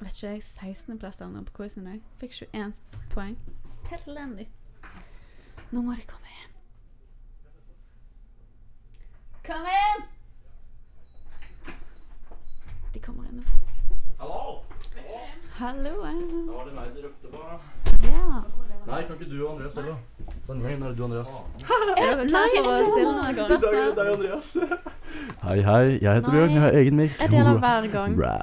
Speaker 3: vet ikke jeg, 16.-plass eller noe på quizen i dag. Fikk 21 poeng. Helt elendig. Nå må de komme inn. Kom inn! De kommer inn nå. Hallo! Hallo.
Speaker 4: Var det meg du røpte på?
Speaker 3: Ja.
Speaker 4: Nei, kan ikke du og Andreas stille? Den gangen er det du og Andreas.
Speaker 3: Er dere klare for å stille noen spørsmål?
Speaker 4: Hei, hei. Jeg heter Bjørn. Jeg har egen mic.
Speaker 6: Jeg deler hver gang.
Speaker 4: Bra.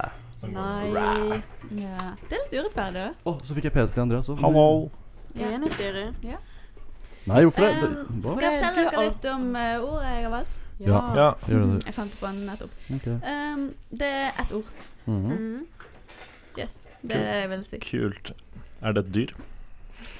Speaker 6: Nei.
Speaker 3: Ja. Det er litt urettferdig, da.
Speaker 4: Å, så fikk jeg PC til Andreas òg.
Speaker 5: Hallo.
Speaker 6: Jeg er enig, Siri.
Speaker 4: Nei, hvorfor det?
Speaker 3: Um,
Speaker 4: det? Hva?
Speaker 3: Skal jeg fortelle dere litt om eh, ordet jeg har valgt?
Speaker 5: Ja.
Speaker 4: Gjør det.
Speaker 3: Jeg fant det på nettopp.
Speaker 4: Ok.
Speaker 3: Um, det er ett ord.
Speaker 4: Mhm.
Speaker 6: Mhm.
Speaker 3: Yes. Det er det jeg vil si.
Speaker 5: Kult. Er det et dyr?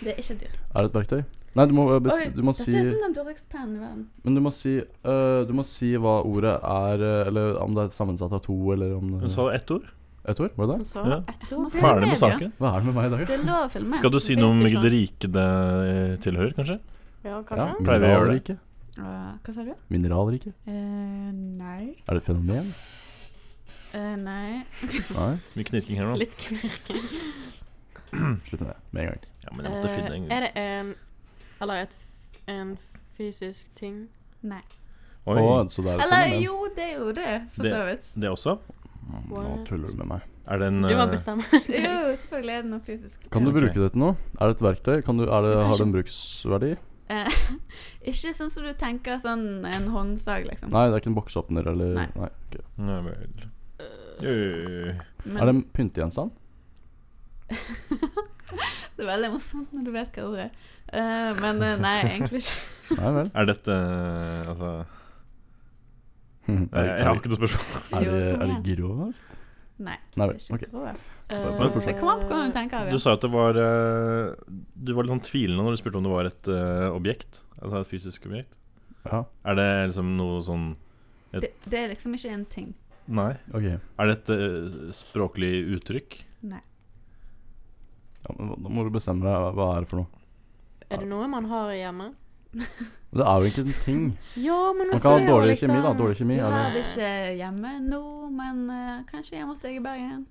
Speaker 3: Det er ikke dyr.
Speaker 4: Er det et verktøy? Nei, du må, eh, bes-
Speaker 3: Oi,
Speaker 4: du må si
Speaker 3: Dette er som den dårligste pennen i verden.
Speaker 4: Men du må si eh, Du må si hva ordet er, eh, eller om det er sammensatt av to, eller om
Speaker 5: Hun
Speaker 4: det
Speaker 5: sa ett ord.
Speaker 4: Et ord? Var det
Speaker 6: Hun
Speaker 4: det?
Speaker 6: sa
Speaker 5: Ja.
Speaker 6: ett ord.
Speaker 5: Ferdig med saken.
Speaker 4: Hva er det med meg i dag?
Speaker 3: Det er lov å filme.
Speaker 5: Skal du si noe om
Speaker 6: Vet ikke.
Speaker 5: det riket det eh, tilhører, kanskje?
Speaker 6: Ja, kanskje.
Speaker 5: pleier vi å gjøre det.
Speaker 4: ikke?
Speaker 3: Og hva sa du?
Speaker 4: Mineralrike?
Speaker 3: Eh, nei.
Speaker 4: Er det et fenomen?
Speaker 3: Eh, nei.
Speaker 4: Nei?
Speaker 5: Mye knirking her nå.
Speaker 6: Litt knirking.
Speaker 4: Slutt med det med en gang.
Speaker 5: Ja, men jeg
Speaker 4: Eh,
Speaker 5: måtte finne en
Speaker 6: Eh, er det en Eller et, f- en fysisk ting?
Speaker 3: nei.
Speaker 5: Oi,
Speaker 4: Å, så det er et
Speaker 3: Eller
Speaker 4: fenomen.
Speaker 3: jo, det er jo det, for
Speaker 5: Det-
Speaker 3: så vidt.
Speaker 5: det også?
Speaker 4: Mm, Nå tuller du med meg.
Speaker 5: Er det en
Speaker 6: Du må
Speaker 5: eh,
Speaker 6: bestemme.
Speaker 3: Jo, selvfølgelig er det noe fysisk.
Speaker 4: Kan du
Speaker 5: Ja, ok.
Speaker 4: bruke det til noe? Er det et verktøy? Kan du, er det, har det en bruksverdi?
Speaker 3: Eh, ikke sånn som du tenker sånn en håndsag, liksom.
Speaker 4: Nei, det er ikke en boksåpner eller Nei.
Speaker 3: Nei.
Speaker 4: ok.
Speaker 5: Nei vel. Øy.
Speaker 3: Men
Speaker 4: Er det en pyntegjenstand?
Speaker 3: det er veldig morsomt når du vet hva ordet er. Eh, men eh, nei, egentlig ikke.
Speaker 4: Nei vel.
Speaker 5: Er dette eh, Altså
Speaker 4: Er,
Speaker 5: eh, Jeg har
Speaker 4: er,
Speaker 5: ikke noe spørsmål.
Speaker 4: er, det,
Speaker 3: Jo, kom
Speaker 4: er det
Speaker 3: igjen.
Speaker 4: grovt?
Speaker 3: Nei,
Speaker 4: Nei
Speaker 3: det er
Speaker 4: vel.
Speaker 3: ikke
Speaker 4: Ok.
Speaker 3: grovt.
Speaker 4: Bare-
Speaker 6: Eh,
Speaker 4: bare fortsett.
Speaker 3: Det kommer an på hva du tenker.
Speaker 5: Du
Speaker 3: Avian.
Speaker 5: sa at det var eh, Du var litt sånn tvilende når du spurte om det var et eh, objekt. Altså et fysisk objekt.
Speaker 4: Ja,
Speaker 5: Er det liksom noe sånn et-
Speaker 3: Det, det er liksom ikke en ting.
Speaker 5: Nei.
Speaker 4: ok.
Speaker 5: Er det et eh, språklig uttrykk?
Speaker 3: Nei.
Speaker 4: Ja, men hva- Nå må du bestemme deg. Hva- Hva er det for noe?
Speaker 6: Er det noe man har hjemme?
Speaker 4: Det er jo ikke en ting.
Speaker 6: Ja, men
Speaker 4: Man
Speaker 6: også
Speaker 4: kan ha
Speaker 6: er jo
Speaker 4: dårlig
Speaker 6: liksom-
Speaker 3: sånn-
Speaker 4: kjemi, da. Dårlig kjemi.
Speaker 3: Du
Speaker 4: Er det.
Speaker 3: har det ikke hjemme nå, men eh, kanskje hjemme hos deg i Bergen.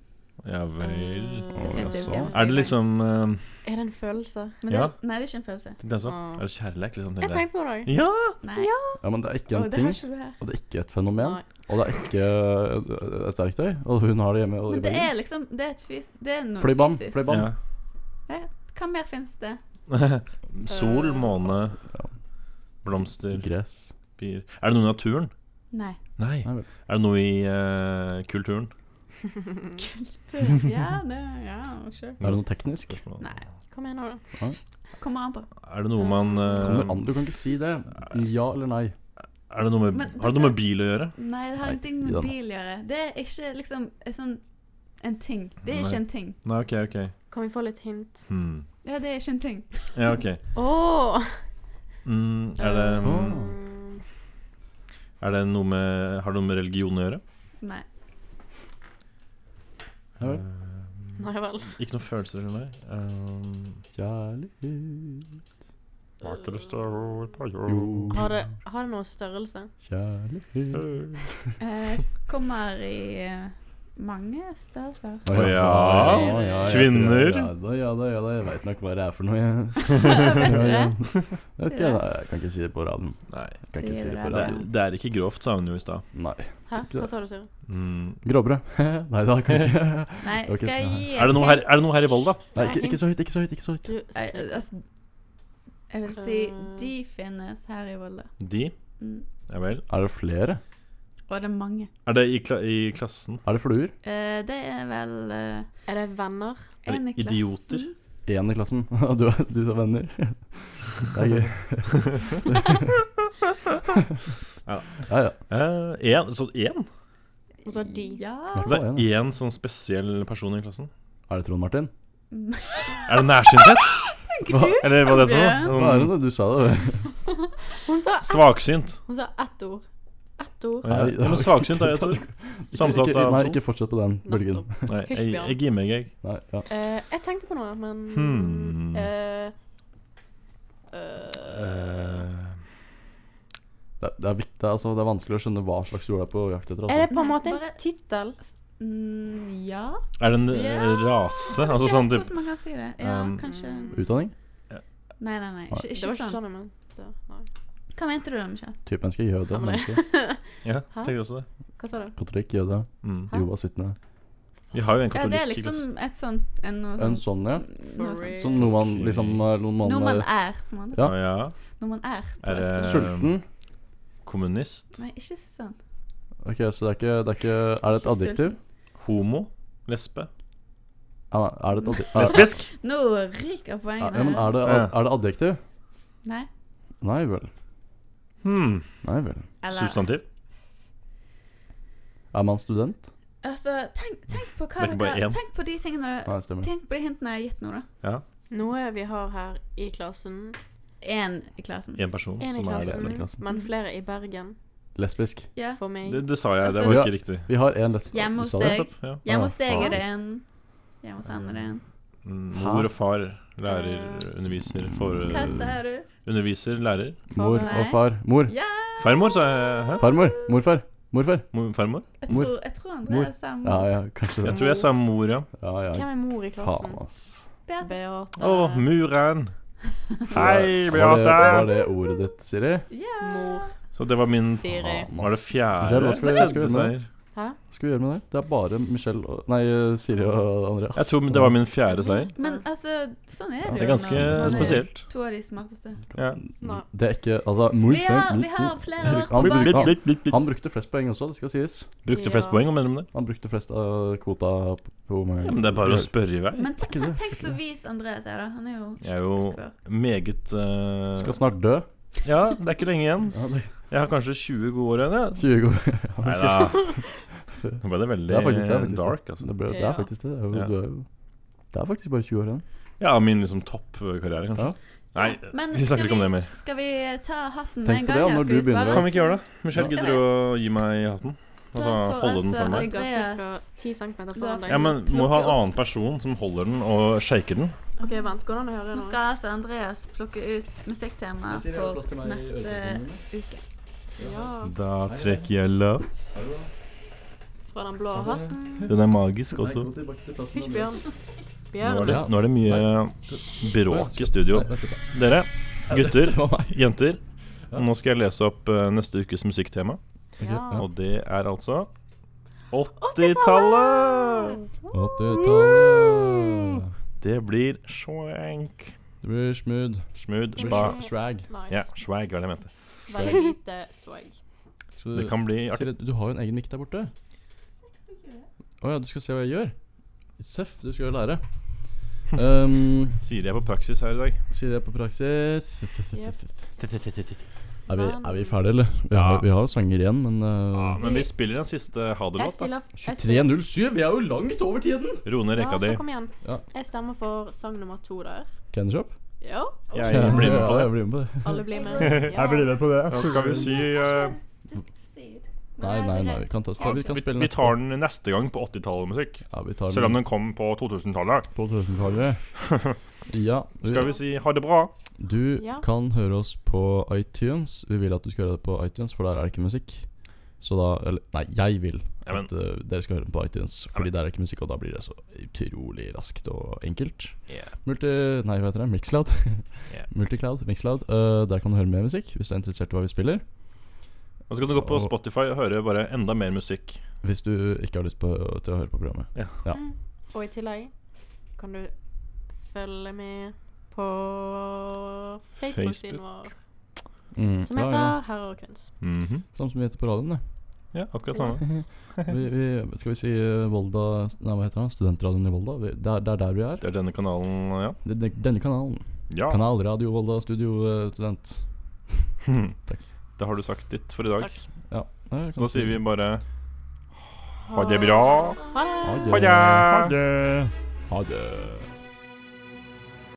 Speaker 5: Ja vel.
Speaker 6: Eh,
Speaker 3: Definitivt hjemme
Speaker 4: så.
Speaker 3: hos deg i
Speaker 5: Er det
Speaker 3: Bergen.
Speaker 5: liksom eh,
Speaker 6: Er det en følelse?
Speaker 3: Men
Speaker 5: Ja.
Speaker 3: det, nei, det er ikke en følelse.
Speaker 5: tenkte jeg så.
Speaker 6: Ah.
Speaker 5: Er det kjærleik? Liksom,
Speaker 6: Jeg tenkte på det òg.
Speaker 5: Ja!
Speaker 3: Nei.
Speaker 4: Ja, men det er
Speaker 3: Å,
Speaker 4: ikke en
Speaker 3: det
Speaker 4: ting.
Speaker 3: har ikke du her.
Speaker 4: Og det er ikke et fenomen.
Speaker 6: Nei.
Speaker 4: Og det er ikke et- et verktøy. Og hun har det hjemme. Og
Speaker 3: Men
Speaker 4: i
Speaker 3: det
Speaker 4: Bergen.
Speaker 3: er liksom Det er, et fys det er noe
Speaker 4: Flybånd.
Speaker 3: fysisk.
Speaker 4: Flybånd.
Speaker 5: Ja.
Speaker 3: Hva mer finnes det?
Speaker 5: Sol,
Speaker 6: Eh.
Speaker 5: måne, blomster,
Speaker 4: Gress.
Speaker 5: bier Er det noe i naturen?
Speaker 3: Nei.
Speaker 5: Nei.
Speaker 4: Nei vel.
Speaker 5: Er det noe i eh, kulturen?
Speaker 3: Ja, det Ja, sure.
Speaker 4: Er det noe teknisk?
Speaker 3: Nei.
Speaker 6: Kom igjen nå, da.
Speaker 3: Kommer an på.
Speaker 5: Er det noe man eh,
Speaker 4: Kommer an, du kan ikke si det. Ja eller Um, nei.
Speaker 5: Er det noe med,
Speaker 3: Men
Speaker 5: Har det noe med bil å gjøre?
Speaker 3: Nei, det har
Speaker 4: Nei,
Speaker 3: ingenting
Speaker 4: ja
Speaker 3: med
Speaker 4: da.
Speaker 3: bil å gjøre. Det er ikke liksom en sånn en ting. Det er
Speaker 5: Nei.
Speaker 3: ikke en ting.
Speaker 5: Nei, OK, OK.
Speaker 6: Kan vi få litt hint?
Speaker 5: Hmm.
Speaker 3: Ja, det er ikke en ting.
Speaker 5: Ja, OK.
Speaker 6: Åh!
Speaker 5: Mm, er, det,
Speaker 6: Eh. Um,
Speaker 5: er det noe med Har det noe med religion å gjøre?
Speaker 3: Nei.
Speaker 4: Ja vel.
Speaker 6: Nei vel.
Speaker 5: Eh, Ikke noe følelser eller nei? Um,
Speaker 4: Kjærlighet,
Speaker 5: jo.
Speaker 6: Har det, har det noe størrelse?
Speaker 4: kjærlighet
Speaker 3: Eh, kommer i eh, mange størrelser.
Speaker 4: Å
Speaker 5: Å ja.
Speaker 4: jeg
Speaker 5: Kvinner.
Speaker 4: tror- Ja da, ja da, ja da. Jeg veit nok hva det er for noe, jeg.
Speaker 3: Vet du det?
Speaker 4: Jeg, vet ikke, jeg kan ikke si det på radioen.
Speaker 5: Nei.
Speaker 4: Jeg Kan ikke si
Speaker 3: Sier
Speaker 4: det på
Speaker 5: Det er,
Speaker 4: radioen.
Speaker 5: det er ikke grovt, sa hun jo i stad.
Speaker 4: Nei.
Speaker 6: Hæ? Hva sa du, Siri?
Speaker 5: Mm.
Speaker 4: Gråbrød. Nei da, kan ikke
Speaker 3: Nei,
Speaker 4: Ok,
Speaker 3: skal jeg gi
Speaker 5: Er, det noe her, er det noe her i Volda?
Speaker 4: Nei, ikke, ikke så høyt, ikke så høyt. ikke så høyt
Speaker 6: Du
Speaker 3: Nei,
Speaker 6: skrik.
Speaker 3: altså, jeg vil si de finnes her i Volda.
Speaker 5: De?
Speaker 3: Mm.
Speaker 5: Ja vel.
Speaker 4: Er det flere?
Speaker 3: Og det er mange.
Speaker 5: Er det i, kla i klassen?
Speaker 4: Er det fluer?
Speaker 3: Eh, det er vel eh,
Speaker 6: Er det venner?
Speaker 5: Er det
Speaker 3: en i klassen.
Speaker 5: idioter?
Speaker 4: Én i klassen. Du, du sa venner. Det er gøy.
Speaker 5: Ja.
Speaker 4: Ja, ja.
Speaker 5: Eh, en, så én?
Speaker 6: Hun sa de.
Speaker 4: I
Speaker 3: Ja.
Speaker 5: Det
Speaker 4: hvert fall
Speaker 5: er
Speaker 4: en, ja.
Speaker 5: én sånn spesiell person i klassen?
Speaker 4: Er det Trond Martin?
Speaker 5: Er det nærsynthet?
Speaker 4: Hva,
Speaker 5: Eller hva det heter
Speaker 4: hva
Speaker 5: for
Speaker 4: er
Speaker 5: noe? Sånn-
Speaker 4: det du sa det?
Speaker 6: Hun sa, ett-
Speaker 5: Svaksynt.
Speaker 6: hun sa ett ord. Ett ord.
Speaker 5: Ja,
Speaker 4: Nei,
Speaker 5: ja, men svaksynt er jo et ord. Samsatt
Speaker 4: ikke,
Speaker 5: av
Speaker 4: Nei,
Speaker 5: to.
Speaker 4: ikke fortsett på den bølgen.
Speaker 6: Nettopp.
Speaker 5: Nei, jeg,
Speaker 6: Hysj, Bjørn.
Speaker 5: jeg gir meg, jeg.
Speaker 4: Nei, ja.
Speaker 6: Eh, jeg tenkte på noe, men
Speaker 5: Hmm.
Speaker 6: eh, eh,
Speaker 4: det, er- det er viktig, altså Det er vanskelig å skjønne hva slags jord det er på jakt etter.
Speaker 6: Er det
Speaker 4: Altså.
Speaker 6: på en
Speaker 3: Nei,
Speaker 6: måte en
Speaker 3: bare-
Speaker 6: tittel?
Speaker 3: Mm, ja.
Speaker 5: Er det en
Speaker 3: Ja.
Speaker 5: eh, rase?
Speaker 3: Jeg
Speaker 5: Altså
Speaker 3: vet
Speaker 5: sånn
Speaker 3: ikke
Speaker 5: typ
Speaker 3: Hvordan man kan si det. Ja,
Speaker 5: um,
Speaker 3: kanskje
Speaker 4: Utdanning?
Speaker 3: Nei, nei, nei. Ikke,
Speaker 6: Det
Speaker 3: ikke
Speaker 6: var ikke
Speaker 3: sånn.
Speaker 6: sånn jeg mente. Nei.
Speaker 3: Hva mente du da, Michelle?
Speaker 4: Type menneske, jøde,
Speaker 6: Ja, men det-
Speaker 4: menneske,
Speaker 5: Ja,
Speaker 6: Hæ?
Speaker 5: tenkte jeg også det.
Speaker 6: Hva sa du?
Speaker 4: katolikk, jøde,
Speaker 5: Mm.
Speaker 6: Hæ?
Speaker 4: Jehovas vitne.
Speaker 5: Vi har jo en
Speaker 3: Ja, det
Speaker 5: katolikk
Speaker 3: er
Speaker 5: i klassen.
Speaker 3: liksom et sånt en, noe
Speaker 4: En
Speaker 3: sånt,
Speaker 4: sånn, ja.
Speaker 3: noe
Speaker 6: For
Speaker 3: sånt.
Speaker 6: real.
Speaker 4: Som noe man liksom eh, Noe man,
Speaker 3: Noe man
Speaker 4: eh,
Speaker 3: er, på en måte.
Speaker 4: Ja.
Speaker 5: Å ja.
Speaker 3: Noe man er på
Speaker 5: Er det-
Speaker 3: Østlandet.
Speaker 4: Sulten?
Speaker 5: Kommunist.
Speaker 3: Nei, ikke sånn.
Speaker 4: Ok, så det er ikke Det er, ikke, er det et
Speaker 3: Ikke
Speaker 4: adjektiv?
Speaker 5: Homo. Lesbe.
Speaker 4: Ja, Er det et adjektiv? Er,
Speaker 5: Lesbisk!
Speaker 3: Nå ryker
Speaker 4: ja,
Speaker 3: poengene.
Speaker 4: men er det, ad- er det adjektiv?
Speaker 3: Nei.
Speaker 4: Nei vel.
Speaker 5: Hmm.
Speaker 4: Nei vel.
Speaker 3: Eller
Speaker 5: Substantiv.
Speaker 4: Er man student?
Speaker 3: Altså, tenk, tenk på
Speaker 5: Det
Speaker 3: hva
Speaker 5: er ikke bare
Speaker 3: dere
Speaker 5: én.
Speaker 3: Tenk på de tingene dere
Speaker 4: Nei, stemmer.
Speaker 3: Tenk på de hintene jeg har gitt nå, da.
Speaker 6: Noe vi har her i klassen.
Speaker 3: Én i klassen.
Speaker 5: Én person
Speaker 6: Én i
Speaker 5: som er det.
Speaker 6: klassen,
Speaker 4: i klassen.
Speaker 6: men flere i Bergen.
Speaker 4: Lesbisk.
Speaker 3: Ja.
Speaker 6: For meg.
Speaker 5: det. Det sa jeg, det
Speaker 3: Altså-
Speaker 5: var
Speaker 4: Ja.
Speaker 5: ikke riktig.
Speaker 4: Vi har én lesbisk.
Speaker 3: Hjemme hos
Speaker 4: Du sa det?
Speaker 3: deg.
Speaker 5: Nettopp. Ja.
Speaker 3: Hjemme hos
Speaker 4: Ah,
Speaker 3: deg
Speaker 4: faen.
Speaker 3: er det en. Hjemme hos henne er det en.
Speaker 5: Mm,
Speaker 4: Hæ?
Speaker 5: Mor og far. Lærer, underviser, for,
Speaker 3: Eh, Hva sa du?
Speaker 5: underviser, lærer.
Speaker 4: Mor og far. Mor.
Speaker 3: Ja,
Speaker 5: Farmor, sa jeg. Hæ?
Speaker 4: Farmor. Morfar. Morfar.
Speaker 5: Mo- Farmor?
Speaker 3: jeg
Speaker 4: Mor.
Speaker 3: tror, jeg tror
Speaker 4: Mor.
Speaker 3: Andrea sa
Speaker 4: Ja,
Speaker 3: mor.
Speaker 4: ja, kanskje det.
Speaker 5: Jeg tror jeg sa mor, ja.
Speaker 4: Ja, ja.
Speaker 6: Hvem er mor i klassen?
Speaker 4: Faen, ass.
Speaker 3: Beate.
Speaker 6: Beate.
Speaker 5: Å, muren! Hei,
Speaker 4: Var det, var
Speaker 5: Beate!
Speaker 4: det ordet ditt, Siri?
Speaker 3: Ja.
Speaker 6: Mor.
Speaker 5: Så det var min
Speaker 6: Siri.
Speaker 5: Var det
Speaker 4: Se,
Speaker 5: fjerde?
Speaker 4: nå skal vi- nå skal vi-
Speaker 5: Tredje seier.
Speaker 6: Hæ?
Speaker 4: Hva skal vi gjøre med det? Det er bare Michelle og Nei, Siri og Andreas.
Speaker 5: Jeg tror det var min fjerde seier.
Speaker 3: Men altså, sånn er det jo.
Speaker 5: Det er ganske
Speaker 3: når man er
Speaker 5: spesielt.
Speaker 3: To av de smarteste.
Speaker 5: Ja.
Speaker 6: Nei.
Speaker 4: Det er ikke Altså, mor,
Speaker 3: Vi har, vi har flere år
Speaker 4: Han
Speaker 5: Blitt,
Speaker 4: brukte-
Speaker 3: bak.
Speaker 5: blitt, blitt, blitt, blitt.
Speaker 4: Han brukte flest poeng også, det skal sies.
Speaker 5: Brukte flest poeng, hva mener du med det?
Speaker 4: Han brukte flest av kvota på mange
Speaker 5: Ja, men det er bare å spørre i vei.
Speaker 3: Men tenk,
Speaker 4: Ikke det.
Speaker 3: tenk så vis Andreas er, da. Han er jo
Speaker 5: Jeg er jo-
Speaker 3: 26 år.
Speaker 5: Meget eh,
Speaker 4: Skal snart dø.
Speaker 5: Ja, det er ikke lenge igjen.
Speaker 4: Ja, det
Speaker 5: Jeg har kanskje 20 gode år igjen, jeg.
Speaker 4: 20 gode
Speaker 5: Nei da. Nå ble det veldig
Speaker 4: Det er faktisk det. er faktisk det.
Speaker 5: dark, altså.
Speaker 4: Det, ble, det
Speaker 6: Ja.
Speaker 4: er faktisk det. Det er,
Speaker 5: Ja.
Speaker 4: jo, du er, jo- det er faktisk bare 20 år igjen.
Speaker 5: Ja, min liksom toppkarriere, kanskje.
Speaker 4: Ja.
Speaker 5: Nei,
Speaker 3: Men
Speaker 5: vi
Speaker 3: skal
Speaker 5: snakker ikke om det mer.
Speaker 3: Skal vi ta hatten med
Speaker 4: Tenk
Speaker 3: en gang?
Speaker 4: på det,
Speaker 3: eller skal
Speaker 4: når du begynner
Speaker 3: spare?
Speaker 4: da.
Speaker 5: Kan vi ikke gjøre det? Michelle,
Speaker 3: Skal
Speaker 5: gidder du å gi meg hatten? Altså
Speaker 3: Da får
Speaker 5: holde den
Speaker 3: altså
Speaker 5: sammen?
Speaker 6: Jeg
Speaker 3: Andreas.
Speaker 6: har ca. 10 cm foran deg.
Speaker 5: Ja, men må ha en annen person som holder den og shaker den.
Speaker 6: OK, vent. Går det an å høre
Speaker 3: Nå
Speaker 6: noe?
Speaker 3: skal altså Andreas plukke ut musikktema for neste uke.
Speaker 6: Ja.
Speaker 5: Da trekker jeg lapp.
Speaker 6: Fra den blå hatten.
Speaker 5: Den er magisk også.
Speaker 6: Hysj, Bjørn.
Speaker 5: Nå er
Speaker 6: Bjørn.
Speaker 5: det, nå er det mye bråk i studio. Dere, gutter, jenter. Nå skal jeg lese opp eh, neste ukes musikktema,
Speaker 6: Ja.
Speaker 5: og det er altså 80-tallet!
Speaker 4: 80-tallet.
Speaker 5: Det blir swank.
Speaker 4: Det blir smooth.
Speaker 5: Smooth,
Speaker 4: Det blir
Speaker 5: spa.
Speaker 4: sw- swag.
Speaker 5: Ja,
Speaker 6: Nice.
Speaker 5: swag, hva er det jeg mente.
Speaker 6: Veldig lite swag.
Speaker 4: Skal
Speaker 5: Det
Speaker 4: du,
Speaker 5: kan bli artig.
Speaker 4: Siri, du har jo en egen mikk der borte. Å ja, du skal se hva jeg gjør? Seff, du skal jo lære. Um,
Speaker 5: Sier jeg på praksis her i dag.
Speaker 4: Siri er på praksis.
Speaker 6: Yep.
Speaker 4: Er vi, er vi ferdige, eller? Vi har, vi har jo sanger igjen, men
Speaker 5: Ja,
Speaker 4: uh,
Speaker 5: men vi spiller en siste ha
Speaker 6: Jeg
Speaker 5: det-låt, da.
Speaker 6: stiller jeg stiller-
Speaker 4: 23.07! Vi er jo langt over tiden!
Speaker 5: Rone
Speaker 6: Ja,
Speaker 5: rekka di.
Speaker 6: så kom igjen.
Speaker 4: Ja.
Speaker 6: Jeg stemmer for sang nummer to der.
Speaker 4: Candy Shop?
Speaker 6: Ja,
Speaker 5: Jeg blir med på
Speaker 4: Ja,
Speaker 5: det.
Speaker 4: jeg blir med på det.
Speaker 6: alle blir med. Ja.
Speaker 5: med på det. Nå skal vi si eh,
Speaker 4: Nei, nei, nei. Vi kan, ta, vi kan
Speaker 5: vi,
Speaker 4: spille
Speaker 5: vi tar den neste gang på 80-tallsmusikk.
Speaker 4: Ja, vi tar
Speaker 5: Selv om den kom på 2000-tallet.
Speaker 4: på 1000-tallet. Ja.
Speaker 5: Skal vi si ha det bra?
Speaker 4: Du
Speaker 6: Ja.
Speaker 4: kan høre oss på iTunes. Vi vil at du skal høre det på iTunes, for der er det ikke musikk. Så da Eller, nei, jeg vil
Speaker 5: Ja, men-
Speaker 4: at eh, dere skal høre den på iTunes, fordi der er det ikke musikk, og da blir det så utrolig raskt og enkelt. Multi... Nei, hva heter det? Mixcloud.
Speaker 5: Ja.
Speaker 4: Multicloud. Mixcloud. Eh, der kan du høre mer musikk, hvis du er interessert i hva vi spiller.
Speaker 5: Og så kan du gå på
Speaker 4: Og-
Speaker 5: Spotify og høre bare enda mer musikk.
Speaker 4: Hvis du ikke har lyst på, til å høre på programmet.
Speaker 6: Og i tillegg kan du følge med på Facebook-siden vår,
Speaker 4: Mm,
Speaker 6: som
Speaker 4: ja,
Speaker 6: heter
Speaker 4: ja.
Speaker 6: Herrer og kvinns.
Speaker 5: Mhm.
Speaker 4: Samme som vi heter på radioen, det.
Speaker 5: Ja, akkurat samme.
Speaker 4: Vi, vi, skal vi si eh, Volda Nei, hva heter den? Studentradioen i Volda? Vi, det, er, det er der vi er.
Speaker 5: Det er denne kanalen, ja.
Speaker 4: Det- det- Denne kanalen.
Speaker 5: Ja,
Speaker 4: Kanal Radio Volda Studio eh, Student.
Speaker 5: Hmm. Da har du sagt ditt for i dag.
Speaker 6: Takk.
Speaker 4: Ja. Nei,
Speaker 5: Så da sier vi bare ha det bra.
Speaker 6: Ha det!
Speaker 5: Ha det!
Speaker 4: Ha det. Ha det.